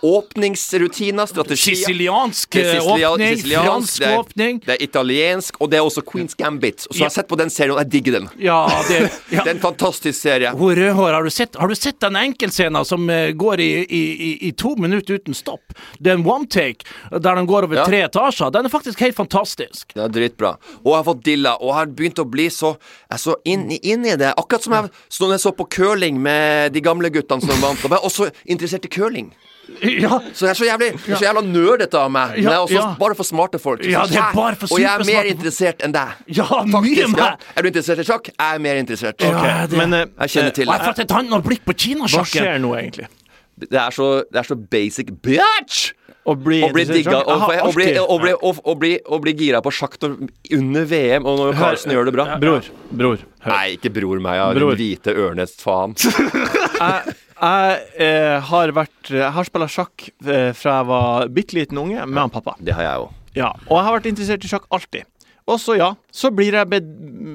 Speaker 4: åpningsrutiner, strategier.
Speaker 5: Siciliansk
Speaker 4: Det er
Speaker 5: eh,
Speaker 4: sicilia-
Speaker 5: åpning,
Speaker 4: siciliansk,
Speaker 5: fransk
Speaker 4: det er-
Speaker 5: åpning.
Speaker 4: Det er italiensk, og det er også Queens Gambit. Og så har jeg sett på den serien, og jeg digger den.
Speaker 5: Ja, det ja.
Speaker 4: Det er en fantastisk serie.
Speaker 5: Hun rødhåra, har du sett Har du sett den enkeltscenen som eh, går i, i, i, i to minutter uten stopp? Det er en one take der den går over
Speaker 4: Ja.
Speaker 5: tre etasjer. Den er faktisk helt fantastisk.
Speaker 4: Det er dritbra. Og jeg har fått dilla, og jeg har begynt å bli så Jeg er så inn, inn i det. Akkurat som jeg, så når jeg så på curling med de gamle guttene som vant. Da var jeg også interessert i curling.
Speaker 5: Ja,
Speaker 4: Så jeg er så jævlig jeg er så jævla nerd dette av meg. Men
Speaker 5: Ja,
Speaker 4: jeg er også
Speaker 5: ja.
Speaker 4: bare for smarte folk.
Speaker 5: Ja, det er
Speaker 4: Hæ?
Speaker 5: bare for
Speaker 4: og jeg er
Speaker 5: supersmarte
Speaker 4: mer
Speaker 5: folk.
Speaker 4: interessert enn deg.
Speaker 5: Ja, mye
Speaker 4: Faktisk, ja.
Speaker 5: mer.
Speaker 4: Er du interessert i sjakk? Jeg er mer interessert.
Speaker 5: Ja,
Speaker 4: Ok.
Speaker 5: det-
Speaker 2: Men eh,
Speaker 4: Jeg kjenner til
Speaker 5: Og jeg har
Speaker 4: det.
Speaker 5: fått et annet blikk på
Speaker 2: hva
Speaker 5: kinasjakken.
Speaker 2: skjer nå, egentlig?
Speaker 4: Det er så, det er så basic bitch!
Speaker 2: Å bli,
Speaker 4: Å bli
Speaker 2: interessert i
Speaker 4: digga
Speaker 2: sjakk? Jeg
Speaker 4: og,
Speaker 2: har
Speaker 4: og, bli,
Speaker 2: alltid-
Speaker 4: og, bli, og, og, bli, og bli gira på sjakk når- under VM, og når Carlsen gjør det bra.
Speaker 2: Bror. Bror. Hør.
Speaker 4: Nei, ikke bror meg, ja.
Speaker 2: Bror.
Speaker 4: Din hvite ørnest, faen.
Speaker 2: jeg, jeg eh, har vært Jeg har spilla sjakk eh, fra jeg var bitte liten unge med han pappa.
Speaker 4: Det har jeg òg.
Speaker 2: Ja, Og jeg har vært interessert i sjakk alltid. Og så, ja, så blir jeg be-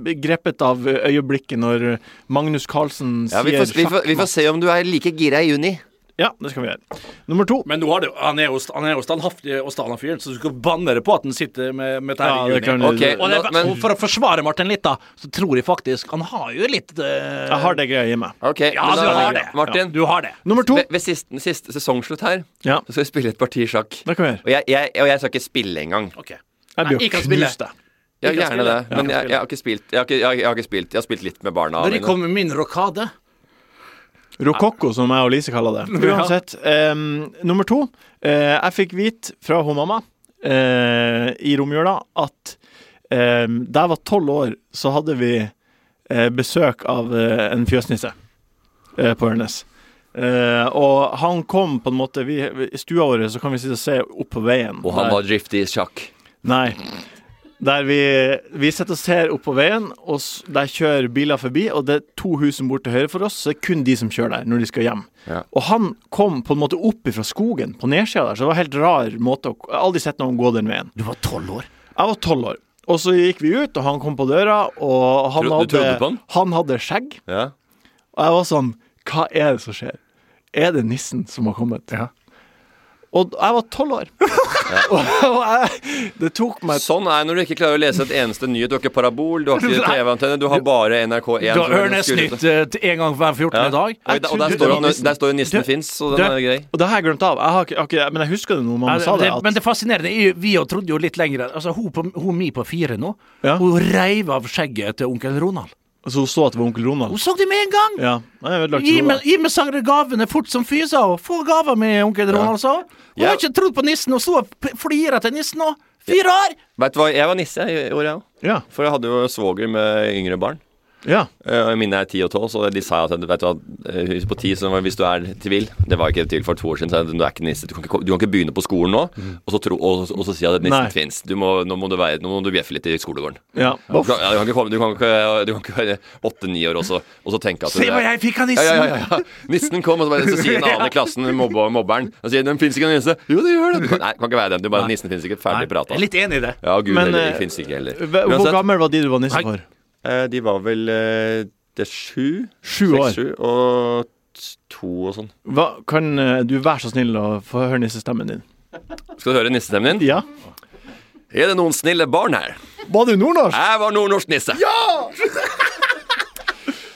Speaker 2: begrepet av øyeblikket når Magnus Carlsen
Speaker 4: Ja,
Speaker 2: sier
Speaker 4: vi, får- vi, får- vi får
Speaker 2: sjakkmatt.
Speaker 4: se om du er like gira i juni.
Speaker 2: Ja, det skal vi gjøre. Nummer to.
Speaker 5: Men nå har det, han er jo st- han er jo standhaftig og stanna fyren, så du skal banne det på at han sitter med, med dette
Speaker 2: Ja,
Speaker 5: her i
Speaker 2: det
Speaker 5: juni.
Speaker 2: kan du-
Speaker 5: Og,
Speaker 4: Ok,
Speaker 5: og, det,
Speaker 4: la- men,
Speaker 5: og for å forsvare Martin litt, da, så tror jeg faktisk Han har jo litt eh,
Speaker 2: Jeg har det greia i meg.
Speaker 4: ok,
Speaker 5: Ja,
Speaker 4: men
Speaker 5: du
Speaker 4: da-
Speaker 5: har det.
Speaker 4: Martin,
Speaker 5: Du har det.
Speaker 2: Nummer to.
Speaker 4: ved, ved siste, siste sesongslutt her,
Speaker 2: Ja,
Speaker 4: så skal vi spille et parti sjakk.
Speaker 2: det kan vi gjøre.
Speaker 4: Og jeg, jeg, og jeg skal ikke spille engang.
Speaker 5: Ok.
Speaker 2: Jeg blir
Speaker 5: Nei, jeg
Speaker 2: jo
Speaker 5: kan spille.
Speaker 2: knust, jeg.
Speaker 4: Jeg
Speaker 5: Ikke
Speaker 4: gjerne
Speaker 5: spille.
Speaker 4: det, men jeg, jeg har ikke spilt. Jeg har ikke, jeg, jeg har ikke spilt. jeg har spilt litt med barna.
Speaker 5: Når de
Speaker 4: mine.
Speaker 5: kommer med min rokade
Speaker 2: Rokokko, som jeg og Lise kaller det. Uansett. em, nummer to. eh, jeg fikk vite fra hun mamma eh, i romjula at um, da jeg var tolv år, så hadde vi eh, besøk av eh, en fjøsnisse eh, på Ørnes. Eh, og han kom på en måte vi, vi- I stua vår så kan vi sitte og se opp på veien.
Speaker 4: Og han
Speaker 2: Der-
Speaker 4: var driftig i sjakk.
Speaker 2: Nei. Der vi, vi sitter og ser opp på veien, og s- der kjører biler forbi, og det er to hus som bor til høyre for oss, så det er kun de som kjører der når de skal hjem.
Speaker 4: Ja.
Speaker 2: Og han kom på en måte opp ifra skogen på nedsida der, så det var helt rar måte å Jeg har aldri sett noen gå den veien.
Speaker 5: Du var tolv år.
Speaker 2: Jeg var tolv år, og så gikk vi ut, og han kom på døra, og han,
Speaker 4: Tro- du trodde på
Speaker 2: hadde,
Speaker 4: han?
Speaker 2: han hadde skjegg,
Speaker 4: Ja.
Speaker 2: og jeg var sånn Hva er det som skjer? Er det nissen som har kommet? Og jeg var tolv år. Og jeg, det tok meg
Speaker 4: Sånn er det når du ikke klarer å lese et eneste nyhet. Du har ikke parabol, du har ikke TV-antenne, du har bare NRK1.
Speaker 5: Du
Speaker 4: som
Speaker 5: har
Speaker 4: er den
Speaker 5: Ørnes-nytt
Speaker 4: skurrete.
Speaker 5: eh, til en gang hver 14.
Speaker 4: Ja.
Speaker 5: dag.
Speaker 4: Og, der, og der
Speaker 2: Jeg trodde
Speaker 4: står jo
Speaker 2: det var
Speaker 4: at- der står jo nissen
Speaker 2: Du-
Speaker 4: fins, så
Speaker 2: du-
Speaker 4: den er grei.
Speaker 2: Og det har jeg glemt av. Jeg har ikke, har ikke- men jeg husker det når mamma sa
Speaker 5: Ja,
Speaker 2: det.
Speaker 5: det,
Speaker 2: At,
Speaker 5: men det fascinerende er jo Vi jo trodde jo litt lenger Altså, hun, på, hun mi på fire nå,
Speaker 2: Ja.
Speaker 5: hun reiv av skjegget til onkel Ronald.
Speaker 2: så hun så at det var onkel
Speaker 5: Hun
Speaker 2: Ronald.
Speaker 5: så det med en gang!
Speaker 2: Ja, jeg har ødelagt
Speaker 5: Gi
Speaker 2: roa.
Speaker 5: meg, gi meg sangre gavene fort som fy, sa hun. Få gaver med onkel Ronald, sa hun. Hun
Speaker 4: Ja.
Speaker 5: har ikke trodd på nissen, og så p- flirer til nissen nå. Fire år!
Speaker 4: Vet du hva, jeg var nisse i år, jeg òg.
Speaker 2: Ja,
Speaker 4: For jeg hadde jo svoger med yngre barn.
Speaker 2: ja.
Speaker 4: Eh, og Mine er 10 og 12, så de sa at vet du, hva, eh, på 10 så var det hvis du er tvil Det var ikke tvil for to år siden. Så jeg, du er ikke nisse. Du kan ikke, du kan ikke begynne på skolen nå og så, tro, og, og så si at
Speaker 2: Nei.
Speaker 4: nissen fins. Nå må du være- nå må du bjeffe litt i skolegården.
Speaker 2: ja.
Speaker 4: Du kan, ja, du kan ikke komme- du kan ikke- du kan ikke være åtte-ni år også, og så tenke at
Speaker 5: Se
Speaker 4: du-
Speaker 5: hva jeg fikk av
Speaker 4: ja,
Speaker 5: nissen!
Speaker 4: ja, ja, ja. Nissen kom, og så, bare, så sier en annen i klassen, mobbe, mobberen Og sier 'den fins ikke, den nisse'. Jo, det gjør den. Nei, kan ikke være den. Du bare, nissen fins ikke. Ferdig prata.
Speaker 5: Jeg er litt enig i det.
Speaker 4: Ja, gud
Speaker 2: Men,
Speaker 4: heller.
Speaker 2: eh,
Speaker 4: Fins ikke heller.
Speaker 2: Hva- Hvor
Speaker 4: Uansett,
Speaker 2: gammel var de du var nisse for?
Speaker 4: eh, de var vel eh, det er sju?
Speaker 2: Sju
Speaker 4: Seks,
Speaker 2: år.
Speaker 4: sju, og t- to og sånn.
Speaker 2: Hva, kan eh, du være så snill å få høre nissestemmen din?
Speaker 4: Skal du høre nissestemmen din?
Speaker 2: Ja.
Speaker 4: Er det noen snille barn her?
Speaker 2: Var du nordnorsk?
Speaker 4: Jeg var nordnorsk nisse. Ja!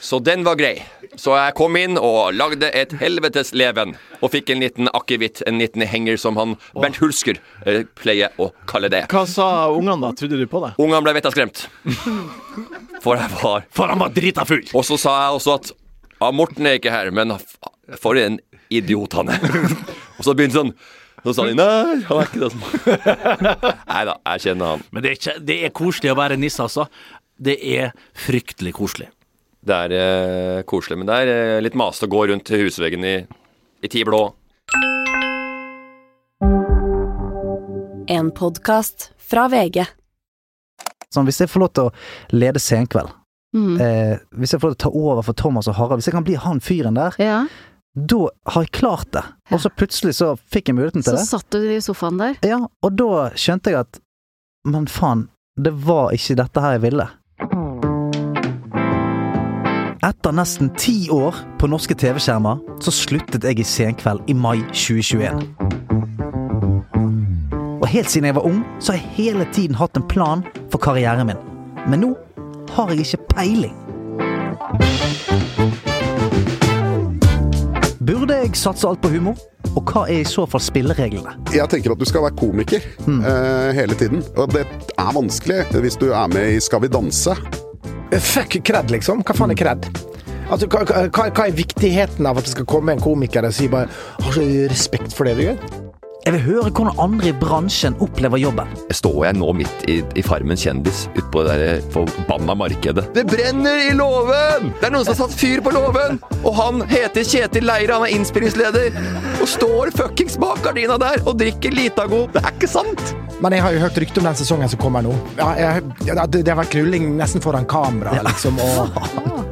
Speaker 4: Så den var grei. Så jeg kom inn og lagde et helvetes leven. Og fikk en liten akevitt, en liten henger, som han Bernt Hulsker eh, pleier å kalle det.
Speaker 2: Hva sa ungene da? Trodde de på deg?
Speaker 4: Ungene ble vettet skremt. For jeg var
Speaker 5: For han var drita full.
Speaker 4: Og så sa jeg også at ja, Morten er ikke her, men f- for en idiot han er. og så begynte sånn. Så sa de nei, han er ikke det. som Nei da, jeg kjenner han.
Speaker 5: Men det er, ikke, det er koselig å være nisse, altså. Det er fryktelig koselig.
Speaker 4: Det er eh, koselig, men det er eh, litt masete å gå rundt til husveggen i, i ti blå.
Speaker 1: En podkast fra VG.
Speaker 7: Sånn, hvis jeg får lov til å lede Senkveld,
Speaker 8: Mm.
Speaker 7: eh, hvis jeg får lov til å ta over for Thomas og Harald, hvis jeg kan bli han fyren der,
Speaker 8: Ja,
Speaker 7: da har jeg klart det. Og så plutselig så fikk jeg muligheten
Speaker 8: så
Speaker 7: til det.
Speaker 8: satt du i sofaen der.
Speaker 7: Ja, og da skjønte jeg at Men faen, det var ikke dette her jeg ville. Etter nesten ti år på norske TV-skjermer, så sluttet jeg i Senkveld i mai 2021. Og helt siden jeg var ung, så har jeg hele tiden hatt en plan for karrieren min. Men nå har jeg ikke peiling. Burde jeg satse alt på humor? Og hva er i så fall spillereglene?
Speaker 9: Jeg tenker at du skal være komiker
Speaker 8: Hmm.
Speaker 9: eh, hele tiden. Og det er vanskelig hvis du er med i Skal vi danse.
Speaker 10: Eh, Fuck cred, liksom. Hva faen er cred? Altså, hva, hva, hva er viktigheten av at det skal komme en komiker og si bare Har så respekt for det du gjør?
Speaker 7: Jeg vil høre hvordan andre i bransjen opplever jobben.
Speaker 4: Står jeg nå midt i, i Farmen kjendis utpå det der eh, forbanna markedet? Det brenner i låven! Det er noen som har satt fyr på låven! Og han heter Kjetil Leire, han er innspillingsleder. Og står fuckings bak gardina der og drikker Litago. Det er ikke sant!
Speaker 10: Men jeg har jo hørt rykte om den sesongen som kommer nå. Ja, jeg, ja, det, det har vært krulling nesten foran kamera, liksom. Og,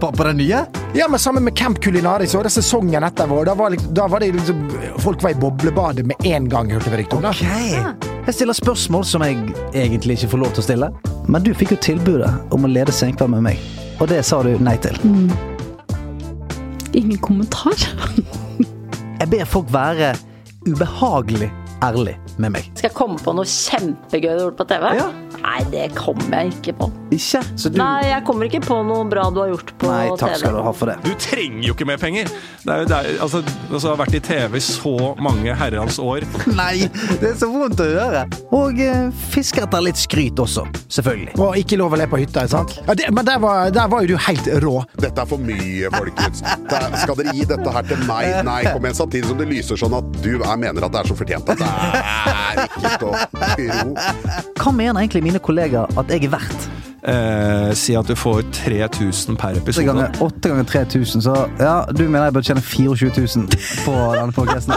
Speaker 7: På, på den nye?
Speaker 10: ja, men sammen med Camp Culinaris og det er sesongen etter vår, da var, liksom, da var det liksom Folk var i boblebadet med en gang, hørte vi rykte om. da.
Speaker 7: Ok. Jeg stiller spørsmål som jeg egentlig ikke får lov til å stille. Men du fikk jo tilbudet om å lede Senkveld med meg, og det sa du nei til.
Speaker 8: Ingen kommentar.
Speaker 7: Jeg ber folk være ubehagelig ærlig med meg.
Speaker 11: Skal jeg komme på noe kjempegøy du har gjort på TV?
Speaker 7: Ja.
Speaker 11: Nei, det kommer jeg ikke på.
Speaker 7: Ikke? Så du
Speaker 11: Nei, jeg kommer ikke på noe bra du har gjort på
Speaker 7: Nei,
Speaker 11: TV.
Speaker 7: takk skal du ha for det.
Speaker 12: Du trenger jo ikke mer penger! Det er, jo- det er, altså, altså, har vært i TV i så mange herrens år.
Speaker 7: Nei, det er så vondt å høre. Og eh, fiske etter litt skryt også, selvfølgelig.
Speaker 10: Og ikke lov å le på hytta, ikke sant? Ja, det, men der var, der var jo du helt rå.
Speaker 9: Dette er for mye, folkens. Det er- Skal dere gi dette her til meg? Nei, kom igjen. Samtidig som det lyser sånn at du er, mener at det er så fortjent at det er ikke til å tro.
Speaker 7: Hva mener egentlig mine kollegaer at jeg er verdt?
Speaker 12: Eh, si at du får 3000 per
Speaker 7: Åtte
Speaker 12: episode.
Speaker 7: ganger, åtte ganger 3000, så ja, du mener jeg bør tjene 24 000 på denne podcasten.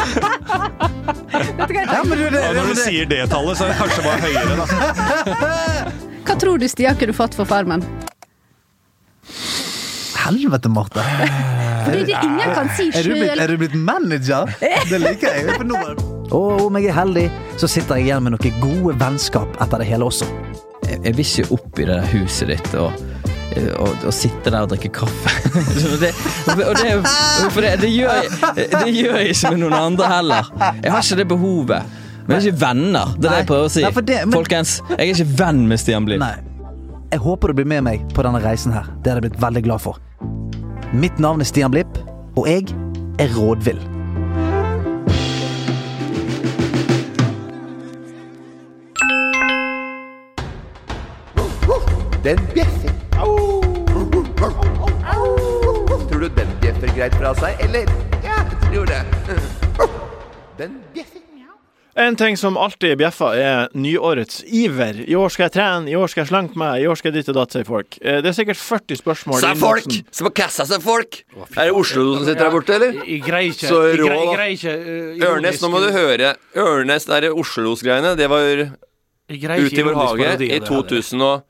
Speaker 7: Ja, men du, det,
Speaker 12: Ja,
Speaker 7: det,
Speaker 12: når du
Speaker 7: det,
Speaker 12: sier det tallet, så er det kanskje bare høyere, da.
Speaker 8: Hva tror du Stian kunne fått for Farmen?
Speaker 7: Helvete, Marte.
Speaker 8: Fordi det ingen kan si
Speaker 7: Er du, blitt,
Speaker 8: sjøl.
Speaker 7: er du blitt manager? Det liker jeg. For nå Og om jeg er heldig, så sitter jeg igjen med noen gode vennskap etter det hele også.
Speaker 11: Jeg vil ikke opp i det huset ditt og, sitte der og drikke kaffe. det, og det, for det, gjør jeg, ikke med noen andre heller. Jeg har ikke det behovet. Vi er ikke venner, det er det jeg prøver å si.
Speaker 7: Nei, for det- men-
Speaker 11: Folkens, jeg er ikke venn med Stian Blipp.
Speaker 7: Nei. Jeg håper du blir med meg på denne reisen her. Det hadde jeg blitt veldig glad for. Mitt navn er Stian Blipp, og jeg er rådvill.
Speaker 3: Den bjeffer. Tror du den bjeffer greit fra seg, eller? Ja, jeg tror det. Den bjeffer.
Speaker 2: En ting som alltid bjeffer, er nyårets iver. I år skal jeg trene, i år skal jeg slanke meg, i år skal jeg ditt og datt, sier folk. Eh, Det er sikkert 40 spørsmål.
Speaker 4: Se
Speaker 2: i
Speaker 4: folk!
Speaker 2: innboksen.
Speaker 4: Se på kassa, se folk! Er det Oslo som sitter der borte, eller?
Speaker 5: Jeg greier ikke.
Speaker 4: Så
Speaker 5: jeg
Speaker 4: rå,
Speaker 5: greier, jeg
Speaker 4: da.
Speaker 5: greier ikke eh,
Speaker 4: Ørnes, nå må du
Speaker 5: ironisk-
Speaker 4: høre. Ørnes, det er Oslo-greiene. Det var
Speaker 5: Jeg greier
Speaker 4: ute
Speaker 5: ikke
Speaker 4: i vår
Speaker 5: ironisk
Speaker 4: hage
Speaker 5: parodi av
Speaker 4: i
Speaker 5: det her,
Speaker 4: 2000 og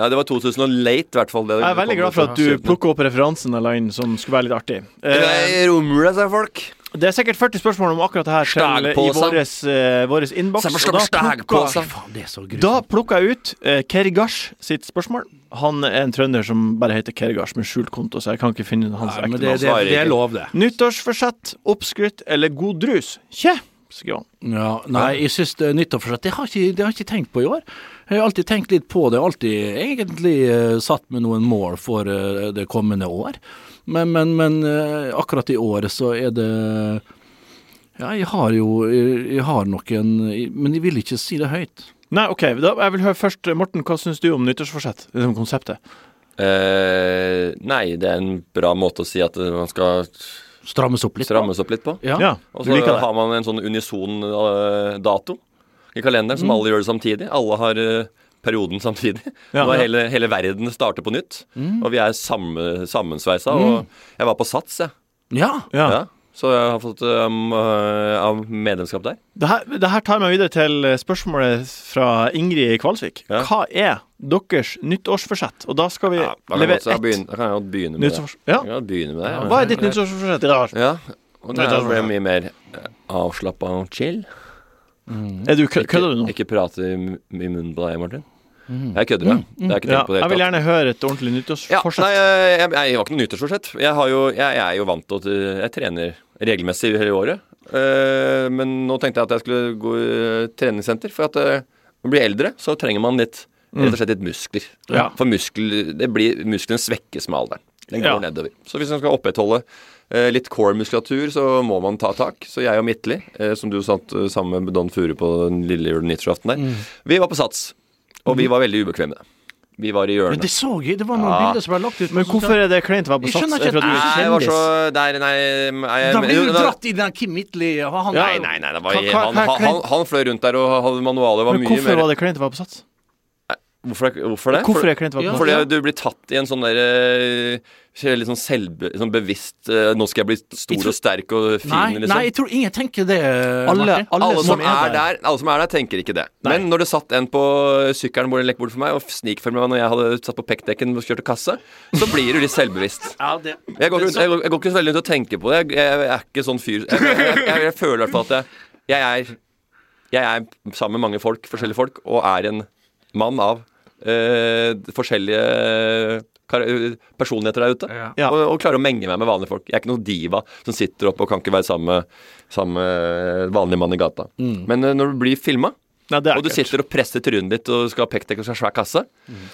Speaker 4: Ja, det var 2000 og late, i hvert fall.
Speaker 2: Jeg er veldig glad for at du plukker opp referansen eller inn, som skulle være litt artig.
Speaker 4: I romjula, sier folk.
Speaker 2: Det er sikkert 40 spørsmål om akkurat det her til, i
Speaker 4: Stagpåsen.
Speaker 2: våres, eh, våres innboks.
Speaker 4: Se på
Speaker 2: og da
Speaker 4: stagpåsen.
Speaker 2: plukker-
Speaker 5: Faen, det er så grusomt.
Speaker 2: Da plukka jeg ut eh, Kergash sitt spørsmål. Han er en trønder som bare heter Kergash med skjult konto, så jeg kan ikke finne hans
Speaker 5: Nei, men det, det, det er lov, det.
Speaker 2: Nyttårsforsett, oppskrytt eller god drus? Tje, skriver han.
Speaker 5: Ja, nei, jeg syns det er nyttårsforsett. Det har ikke- det har jeg ikke tenkt på i år. Jeg har alltid tenkt litt på det, alltid egentlig eh, satt med noen mål for eh, det kommende år. Men, men, men eh, akkurat i året så er det Ja, jeg har jo Jeg, jeg har nok en Men jeg vil ikke si det høyt.
Speaker 2: Nei, OK. Da, jeg vil høre først, eh, Morten, hva syns du om nyttårsforsett? Det er konseptet.
Speaker 4: Eh, nei, det er en bra måte å si at eh, man skal
Speaker 5: Strammes opp litt på.
Speaker 4: strammes opp litt på.
Speaker 5: Ja. Ja,
Speaker 4: Og
Speaker 2: du
Speaker 4: så
Speaker 2: liker det.
Speaker 4: har man en sånn unison eh, dato i kalenderen som
Speaker 2: Mm.
Speaker 4: alle gjør det samtidig. Alle har eh, perioden samtidig.
Speaker 2: Ja.
Speaker 4: Nå
Speaker 2: Ja.
Speaker 4: er hele, hele verden starter på nytt.
Speaker 2: Mm.
Speaker 4: Og vi er samme, sammensveisa.
Speaker 2: Mm.
Speaker 4: Og jeg var på Sats, jeg.
Speaker 5: Ja.
Speaker 4: Ja, så jeg har fått um, eh, av medlemskap der.
Speaker 2: Det her, det her tar meg videre til eh, spørsmålet fra Ingrid i Kvalsvik. Hva er deres nyttårsforsett? Og da skal vi
Speaker 4: Da kan jeg
Speaker 2: levere
Speaker 4: godt- jeg
Speaker 2: ett.
Speaker 4: begynne- da kan jeg godt begynne med det.
Speaker 2: Nyttårs- ja.
Speaker 4: Jeg kan godt begynne med det. ja.
Speaker 2: Hva er ditt nyttårsforsett i dag?
Speaker 4: Ja, og det
Speaker 2: Nyttårsforsett.
Speaker 4: ble mye mer avslappa og chill.
Speaker 2: Er du kø- kødder du nå?
Speaker 4: Ikke prate i m- i munnen på deg, Martin.
Speaker 2: Mm.
Speaker 4: Jeg kødder, ja. Det har jeg ikke
Speaker 2: Ja,
Speaker 4: tenkt på det
Speaker 2: jeg vil
Speaker 4: hele tatt.
Speaker 2: gjerne høre et ordentlig
Speaker 4: Ja,
Speaker 2: nyttårsforsett.
Speaker 4: nei, jeg, jeg, jeg har ikke noe nyttårsforsett. Jeg, har jo, jeg, jeg er jo vant til at eh, jeg trener regelmessig hele året. Eh, men nå tenkte jeg at jeg skulle gå i eh, treningssenter, for at eh, når man blir eldre, så trenger man litt
Speaker 2: Mm.
Speaker 4: Rett og slett litt muskler.
Speaker 2: Ja.
Speaker 4: For muskel, det blir, muskelen svekkes med alderen. Den går
Speaker 2: Ja.
Speaker 4: nedover. Så hvis man skal opprettholde eh, litt core-muskulatur, så må man ta tak. Så jeg og Midtli, eh, som du satt eh, sammen med Don Furu på den lille jul- og nyttårsaften der,
Speaker 5: Mm.
Speaker 4: vi var på Sats. Og
Speaker 2: Mm.
Speaker 4: vi var veldig ubekvemme. Vi var i hjørnet.
Speaker 5: Men det så jeg, det var noen
Speaker 4: Ja.
Speaker 5: bilder som ble lagt ut.
Speaker 2: Men hvorfor er det kleint å være på
Speaker 5: Jeg skjønner
Speaker 2: Sats? Er
Speaker 5: ikke
Speaker 2: det fordi
Speaker 5: at-
Speaker 4: Nei,
Speaker 2: du
Speaker 4: det
Speaker 2: er
Speaker 4: var så
Speaker 2: kjendis?
Speaker 4: der, Nei, nei jeg-
Speaker 5: Da blir
Speaker 4: jo,
Speaker 5: du
Speaker 4: da-
Speaker 5: dratt i den Kim Midtly. Han
Speaker 4: Nei, nei, nei, det var,
Speaker 5: Hva- hva-
Speaker 4: han,
Speaker 5: hva-
Speaker 4: han, han, han fløy rundt der, og hadde manualet var
Speaker 2: Men
Speaker 4: mye
Speaker 2: hvorfor
Speaker 4: mer
Speaker 2: var det kleint å være på Sats?
Speaker 4: Hvorfor, er- hvorfor det?
Speaker 2: Hvorfor er klient valgt?
Speaker 4: Fordi
Speaker 2: Ja, ja.
Speaker 4: du blir tatt i en sånn der eh, Litt sånn selvbe, sånn bevisst eh, Nå skal jeg bli stor
Speaker 5: Jeg
Speaker 4: og
Speaker 5: tror-
Speaker 4: sterk og fin,
Speaker 5: Nei,
Speaker 4: liksom.
Speaker 5: nei, jeg tror ingen tenker det, Martin.
Speaker 4: alle som er der, alle som er der, tenker ikke det. Men når det satt en på sykkelen bort, bort for meg og snikfølger meg når jeg hadde satt på pekkdekken og kjørte kasse, så blir du litt selvbevisst.
Speaker 5: Ja, det-
Speaker 4: Jeg går, ikke- jeg, går, jeg går ikke så veldig rundt og tenker på det. Jeg, jeg, jeg er ikke sånn fyr Jeg, jeg, jeg, jeg, jeg føler i hvert fall at jeg, jeg er Jeg er sammen med mange folk, forskjellige folk, og er en mann av eh, forskjellige kar personligheter der ute. Og, og klarer å menge meg med vanlige folk. Jeg er ikke noen diva som sitter oppe og kan ikke være sammen med- sammen med vanlig mann i gata.
Speaker 2: Mm.
Speaker 4: Men eh, når du blir filma,
Speaker 2: Nei, det er
Speaker 4: og du
Speaker 2: ekkelt.
Speaker 4: sitter og presser trynet ditt og skal ha pekdekk og skal ha svær kasse,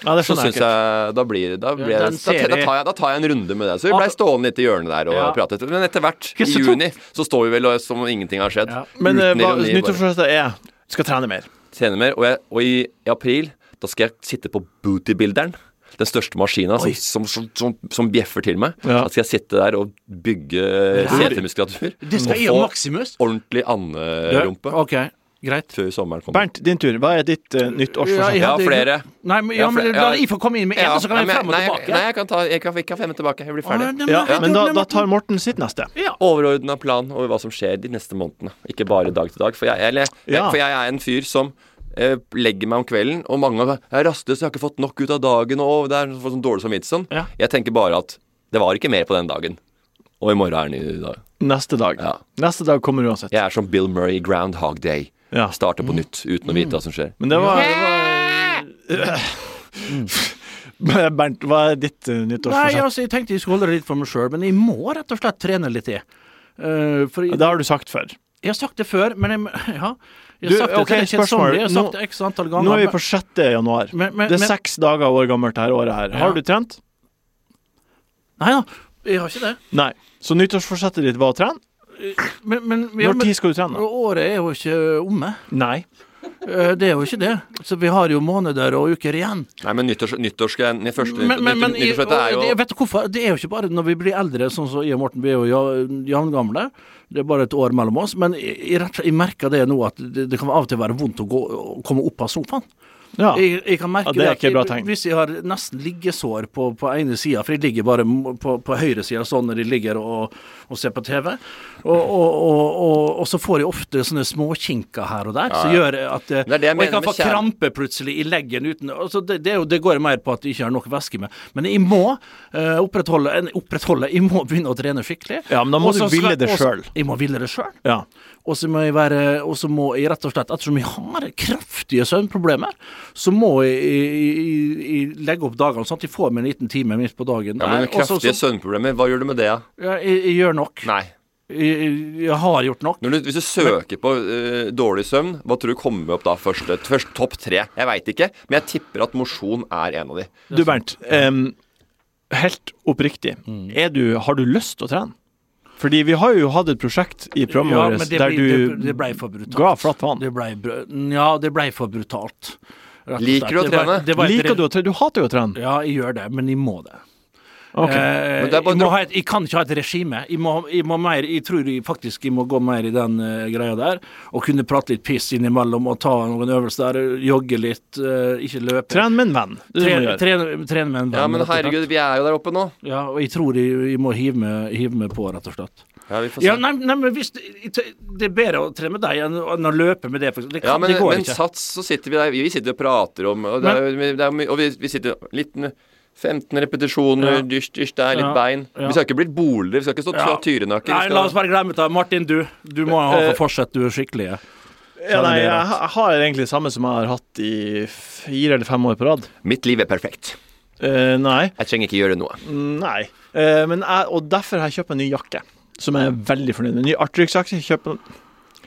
Speaker 2: Ja, det sånn skjønner
Speaker 4: så
Speaker 2: jeg
Speaker 4: syns jeg Da blir det da, blir,
Speaker 2: Mm. den
Speaker 4: jeg- da,
Speaker 2: ser
Speaker 4: da,
Speaker 2: jeg.
Speaker 4: tar jeg, da tar jeg en runde med det. Så vi blei stående litt i hjørnet der og
Speaker 2: Ja.
Speaker 4: pratet. Men etter hvert, i
Speaker 2: Ikke så
Speaker 4: juni, så står vi vel og- som om ingenting har skjedd.
Speaker 2: Men eh,
Speaker 4: Uten
Speaker 2: hva
Speaker 4: ironi, bare.
Speaker 2: nyttårsforsettet er skal trene mer.
Speaker 4: Tjener mer. Og, jeg, og i, i april, da skal jeg sitte på bootybuilderen. Den største maskina som, som, som, som, som bjeffer til meg.
Speaker 5: Ja.
Speaker 4: Da skal jeg sitte der og bygge
Speaker 5: Ræl.
Speaker 4: setemuskulatur.
Speaker 5: Det skal jeg og Maximus.
Speaker 4: ordentlig
Speaker 5: Du,
Speaker 4: anderumpe.
Speaker 5: ok, greit.
Speaker 4: Før sommeren kommer.
Speaker 2: Bernt, din tur. Hva er ditt eh,
Speaker 5: Ja,
Speaker 2: nyttårsforsett?
Speaker 5: jeg hadde- Nei, men, ja,
Speaker 4: Jeg har
Speaker 5: men
Speaker 4: flere-
Speaker 5: la
Speaker 4: ja.
Speaker 5: jeg få komme inn med én,
Speaker 4: Ja,
Speaker 5: og så
Speaker 4: ja,
Speaker 5: kan jeg
Speaker 4: men-
Speaker 5: frem og
Speaker 4: nei,
Speaker 5: tilbake.
Speaker 4: Nei, jeg kan ta jeg kan, jeg kan fem minutter tilbake. Jeg blir ferdig.
Speaker 5: nei,
Speaker 2: Ja, men da, da tar Morten sitt neste.
Speaker 5: Ja.
Speaker 4: Overordna plan over hva som skjer de neste månedene. Ikke bare dag til dag. For jeg, eller, jeg,
Speaker 2: Ja.
Speaker 4: for jeg er en fyr som eh, legger meg om kvelden, og mange ganger 'Jeg er rastløs, jeg har ikke fått nok ut av dagen', og det er sånn, sånn dårlig samvittighet sånn. Jeg tenker bare at det var ikke mer på den dagen. Og i morgen er den i dag.
Speaker 2: Neste dag. Neste dag kommer uansett.
Speaker 4: Jeg er som Bill Murray i Groundhog Day. Starter
Speaker 5: Mm.
Speaker 4: på nytt uten å vite hva som skjer.
Speaker 2: Men det var, det var Bernt, hva er ditt eh,
Speaker 5: Nei,
Speaker 2: nyttårsforsett?
Speaker 5: altså, jeg tenkte jeg skulle holde det litt for meg sjøl, men jeg må rett og slett trene litt til. Eh, for jeg,
Speaker 2: Det har du sagt før.
Speaker 5: Jeg har sagt det før, men jeg, ja, jeg
Speaker 2: Du,
Speaker 5: har sagt det
Speaker 2: ok,
Speaker 5: til Kjell
Speaker 2: spørsmål.
Speaker 5: Sandli, jeg har
Speaker 2: Nå-
Speaker 5: sagt det x antall ganger.
Speaker 2: Nå er vi
Speaker 5: men-
Speaker 2: på 6. januar.
Speaker 5: Men- men-
Speaker 2: det er
Speaker 5: men-
Speaker 2: seks dager år gammelt her året her. Har
Speaker 5: Ja.
Speaker 2: du trent?
Speaker 5: Nei da, jeg har ikke det.
Speaker 2: Nei. Så nyttårsforsettet ditt var å trene?
Speaker 5: Men, men,
Speaker 2: Når tid skal du trene?
Speaker 5: Året er jo ikke omme.
Speaker 2: Nei.
Speaker 5: Eh, Det er jo ikke det. Så vi har jo måneder og uker igjen.
Speaker 4: Nei, men nyttårs, nyttårsgreien den første
Speaker 5: Men, men, men i-
Speaker 4: nyttårsrettet er
Speaker 5: og det,
Speaker 4: jo
Speaker 5: vet du hvorfor? Det er jo ikke bare når vi blir eldre, sånn som jeg og Morten, vi er jo ja- jevngamle. Det er bare et år mellom oss. Men jeg, jeg, rett og slett- jeg merker det nå at det, det kan av og til være vondt å, gå, å komme opp av sofaen.
Speaker 2: Ja.
Speaker 5: Jeg, jeg kan merke
Speaker 2: Ja, det er
Speaker 5: at
Speaker 2: ikke
Speaker 5: jeg-
Speaker 2: bra tegn.
Speaker 5: Hvis jeg har nesten liggesår på, på ene sida, for jeg ligger bare m- på, på høyre sida sånn når jeg ligger og, og ser på TV, og, og, og, og, og så får jeg ofte sånne småkinker her og der,
Speaker 4: Ja,
Speaker 5: som
Speaker 4: ja.
Speaker 5: gjør at eh,
Speaker 4: Det er det jeg
Speaker 5: Og jeg
Speaker 4: mener
Speaker 5: kan
Speaker 4: med
Speaker 5: få
Speaker 4: kjære-
Speaker 5: krampe plutselig i leggen uten altså det, det, er jo- det går mer på at jeg ikke har nok væske med. Men jeg må eh, opprettholde, en- opprettholde Jeg må begynne å trene skikkelig.
Speaker 2: Ja, men da må
Speaker 5: Og så
Speaker 2: du ville
Speaker 5: skal-
Speaker 2: det
Speaker 5: og så-
Speaker 2: sjøl.
Speaker 5: Jeg må ville det sjøl.
Speaker 2: Ja.
Speaker 5: Og så må jeg være Og så må jeg rett og slett Ettersom jeg har kraftige søvnproblemer, så må jeg, jeg, jeg, jeg legge opp dagene sånn at jeg får meg en liten time midt på dagen.
Speaker 4: ja, men
Speaker 5: der, og så-
Speaker 4: Kraftige
Speaker 5: så-
Speaker 4: søvnproblemer, hva gjør du med det? da?
Speaker 5: Ja, jeg, jeg gjør nok.
Speaker 4: Nei.
Speaker 5: Jeg, jeg- jeg har gjort nok.
Speaker 4: Når du, hvis du søker på eh, dårlig søvn, hva tror du kommer opp da først? først topp tre? Jeg veit ikke, men jeg tipper at mosjon er en av de.
Speaker 2: Du, Bernt. em, helt oppriktig. Er du, har du lyst til å trene? Fordi vi har jo hatt et prosjekt i programmet
Speaker 5: Ja, men
Speaker 2: vårt
Speaker 5: det
Speaker 2: der
Speaker 5: blir-
Speaker 2: du
Speaker 5: det- det ble for brutalt.
Speaker 2: ga flatt faen.
Speaker 5: Det blei br- ja, det blei for brutalt. rett og
Speaker 2: Liker
Speaker 5: slett.
Speaker 2: du å
Speaker 5: Det var-
Speaker 2: trene?
Speaker 5: det var et
Speaker 2: Liker
Speaker 5: re-
Speaker 2: du å trene? Du hater jo å trene.
Speaker 5: Ja, jeg gjør det, men jeg må det.
Speaker 2: Ok.
Speaker 5: Eh,
Speaker 2: Men det er bare
Speaker 5: jeg, må
Speaker 2: dro-
Speaker 5: ha et, jeg kan ikke ha et regime. Jeg, må, jeg, må mer, jeg tror jeg faktisk jeg må gå mer i den eh, greia der. Og kunne prate litt piss innimellom og ta noen øvelser der. Jogge litt, eh, ikke løpe.
Speaker 2: Tren med en venn. Det er det du
Speaker 5: Trene
Speaker 2: må gjøre.
Speaker 5: trene- trene med en venn.
Speaker 4: Ja, men
Speaker 5: rett og slett.
Speaker 4: herregud, vi er jo der oppe nå.
Speaker 5: Ja, og jeg tror jeg, jeg må hive meg, hive meg på, rett og slett.
Speaker 4: Ja, vi får se.
Speaker 5: Ja, nei, nei, men hvis, Det er bedre å trene med deg enn å- enn å løpe med det. For, det, kan,
Speaker 4: Ja, men,
Speaker 5: det går
Speaker 4: men
Speaker 5: ikke.
Speaker 4: sats, så sitter vi der. Vi sitter og prater om Og, det er, jo- det er, jo mye- og vi, vi sitter litt 15 repetisjoner,
Speaker 5: Ja.
Speaker 4: dysj, dysj, der, litt
Speaker 5: Ja,
Speaker 4: bein.
Speaker 5: ja.
Speaker 4: Vi skal ikke bli boler, vi skal ikke stå
Speaker 5: Ja.
Speaker 4: ja. tyrenakker.
Speaker 5: Nei,
Speaker 4: vi
Speaker 5: la
Speaker 4: skal-
Speaker 5: oss bare glemme det. Martin, du. Du må ha
Speaker 2: Eh,
Speaker 5: for fortsett, du er skikkelig. ja.
Speaker 2: Ja, nei, jeg
Speaker 5: Kjære dere.
Speaker 2: ha- har egentlig det samme som jeg har hatt i fire eller fem år på rad.
Speaker 4: Mitt liv er perfekt.
Speaker 2: Eh, nei.
Speaker 4: Jeg trenger ikke gjøre noe.
Speaker 5: Mm.
Speaker 2: Nei. Eh, men jeg, og derfor har jeg kjøpt meg en ny jakke, som jeg er veldig fornøyd med. Ny artrykkjakke. jeg kjøper en-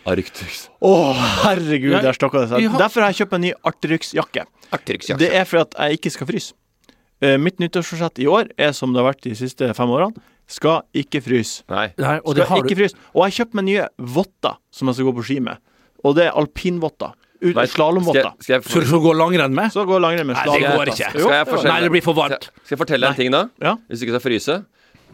Speaker 4: Arctix.
Speaker 2: Å, herregud,
Speaker 4: Ja,
Speaker 2: der stokka det seg.
Speaker 4: vi har-
Speaker 2: Derfor har jeg kjøpt meg en ny artrykkjakke.
Speaker 4: Artryksjakke.
Speaker 2: Det er fordi at jeg ikke skal fryse. Eh, mitt nyttårsforsett i år er som det har vært de siste fem årene. Skal ikke fryse.
Speaker 4: Nei.
Speaker 5: Nei, og det
Speaker 2: skal
Speaker 5: har du-
Speaker 2: ikke fryse. Og jeg kjøpte meg nye votter som jeg skal gå på ski med. Og det er alpinvotter. Ut-
Speaker 4: Nei,
Speaker 2: Slalåmvotter.
Speaker 4: skal jeg- skal jeg-
Speaker 5: Skal du gå langrenn med?
Speaker 2: Så går langrenn med
Speaker 5: Nei, det
Speaker 2: slalåm.
Speaker 5: går ikke.
Speaker 4: Skal jeg fortelle,
Speaker 5: Nei, det blir for varmt.
Speaker 4: Skal- Skal jeg fortelle deg en ting, da?
Speaker 2: Ja.
Speaker 4: Hvis du ikke skal fryse.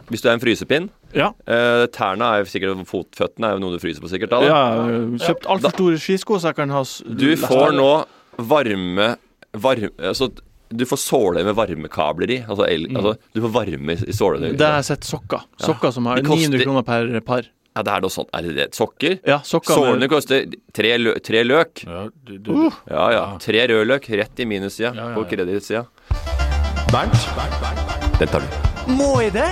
Speaker 4: Hvis du er en frysepinn
Speaker 2: Ja.
Speaker 4: eh, Tærne er jo sikkert Fotføttene er jo noe du fryser på, sikkert. Da, da.
Speaker 2: Ja, kjøpt altfor store skisko, så jeg kan ha s-
Speaker 4: Du får nå varme, varme Altså, du får såle med varmekabler i. Altså, el,
Speaker 5: Mm.
Speaker 4: altså du får varme i- i sålene.
Speaker 2: Det har jeg sett sokker. Sokker som har
Speaker 4: De koster-
Speaker 2: 900 kroner per par.
Speaker 4: Ja, det er noe sånt. Er det det? Sokker?
Speaker 2: Ja, sokker
Speaker 4: Sålene
Speaker 2: med-
Speaker 4: koster tre, lø, tre løk.
Speaker 5: Ja,
Speaker 2: Uh.
Speaker 4: ja, Tre rødløk rett i minussida på kredittsida.
Speaker 3: Bernt,
Speaker 4: den tar du.
Speaker 7: Må jeg det?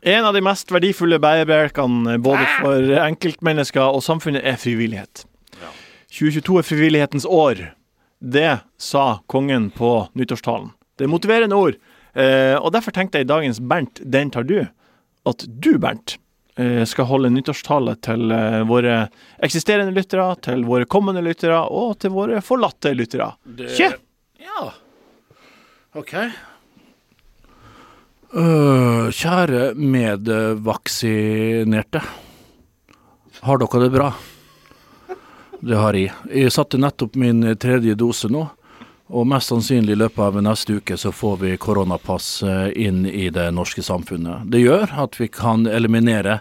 Speaker 2: En av de mest verdifulle bærebjelkene både for enkeltmennesker og samfunnet er frivillighet. 2022 er frivillighetens år. Det sa kongen på nyttårstalen. Det er motiverende ord. Eh, og derfor tenkte jeg i dagens Bernt, den tar du, at du, Bernt, eh, skal holde nyttårstale til eh, våre eksisterende lyttere, til våre kommende lyttere og til våre forlatte lyttere.
Speaker 5: Det-
Speaker 2: Kje?
Speaker 5: Ja. OK. Øh, kjære medvaksinerte. Har dere det bra? Det har jeg. Jeg satte nettopp min tredje dose nå. Og mest sannsynlig i løpet av neste uke så får vi koronapass eh, inn i det norske samfunnet. Det gjør at vi kan eliminere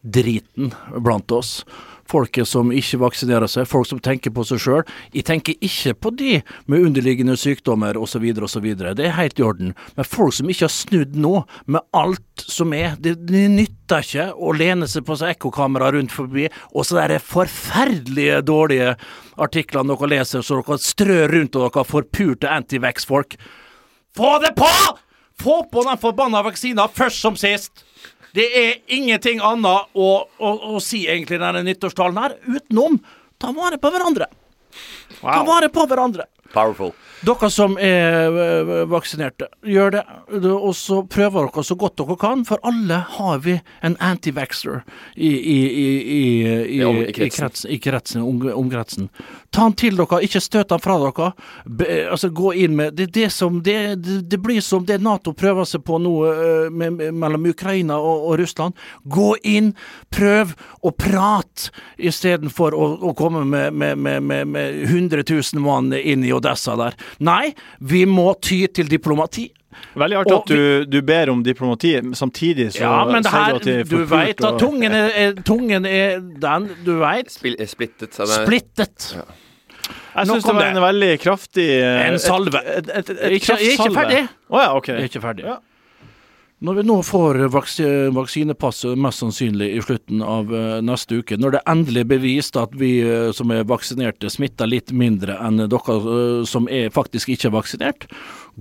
Speaker 5: driten blant oss. Folket som ikke vaksinerer seg, folk som tenker på seg sjøl. Jeg tenker ikke på de med underliggende sykdommer osv. osv. Det er helt i orden. Men folk som ikke har snudd nå, med alt som er. Det, det nytter ikke å lene seg på seg ekkokamera rundt forbi, og så der er forferdelige dårlige artiklene dere leser, så dere strør rundt og dere forpurte antivax-folk. Få det på! Få på den forbanna vaksina først som sist! Det er ingenting annet å, å, å si egentlig denne nyttårstalen her, utenom ta vare på hverandre. Ta vare på hverandre.
Speaker 4: Powerful.
Speaker 5: Dere som er eh, vaksinerte, gjør det. Og så prøver dere så godt dere kan, for alle har vi en antivaxer i, i, i, i, i,
Speaker 4: Ja, om- i
Speaker 5: i
Speaker 4: kretsen.
Speaker 5: kretsen. I kretsen om, omkretsen. Ta den til dere, ikke støt den fra dere. Be, altså Gå inn med Det, er det, som, det, det, det blir som det Nato prøver seg på nå eh, med, med, mellom Ukraina og, og Russland. Gå inn, prøv og prat, istedenfor å, å komme med, med, med, med, med 100 000 mann inn i Odessa der. Nei, vi må ty til diplomati.
Speaker 2: Veldig artig at du, du ber om diplomati, samtidig så
Speaker 5: Ja, men det her,
Speaker 2: sier du at de er
Speaker 5: du
Speaker 2: forpult
Speaker 5: veit at
Speaker 2: og-
Speaker 5: tungen er, er, tungen er den, du veit.
Speaker 4: eh, Splittet.
Speaker 5: Splittet.
Speaker 2: Jeg
Speaker 5: Nok
Speaker 2: syns det
Speaker 5: om
Speaker 2: var
Speaker 5: det.
Speaker 2: en veldig kraftig eh,
Speaker 5: En salve.
Speaker 2: Et, et, et, et
Speaker 5: Ikke- ikke
Speaker 2: kraftsalve.
Speaker 5: ferdig.
Speaker 2: Å ja, ok.
Speaker 5: Ikke ferdig. Når vi nå får vaks vaksinepasset mest sannsynlig i slutten av eh, neste uke, når det endelig er bevist at vi eh, som er vaksinerte smitter litt mindre enn dere eh, som er faktisk ikke er vaksinert,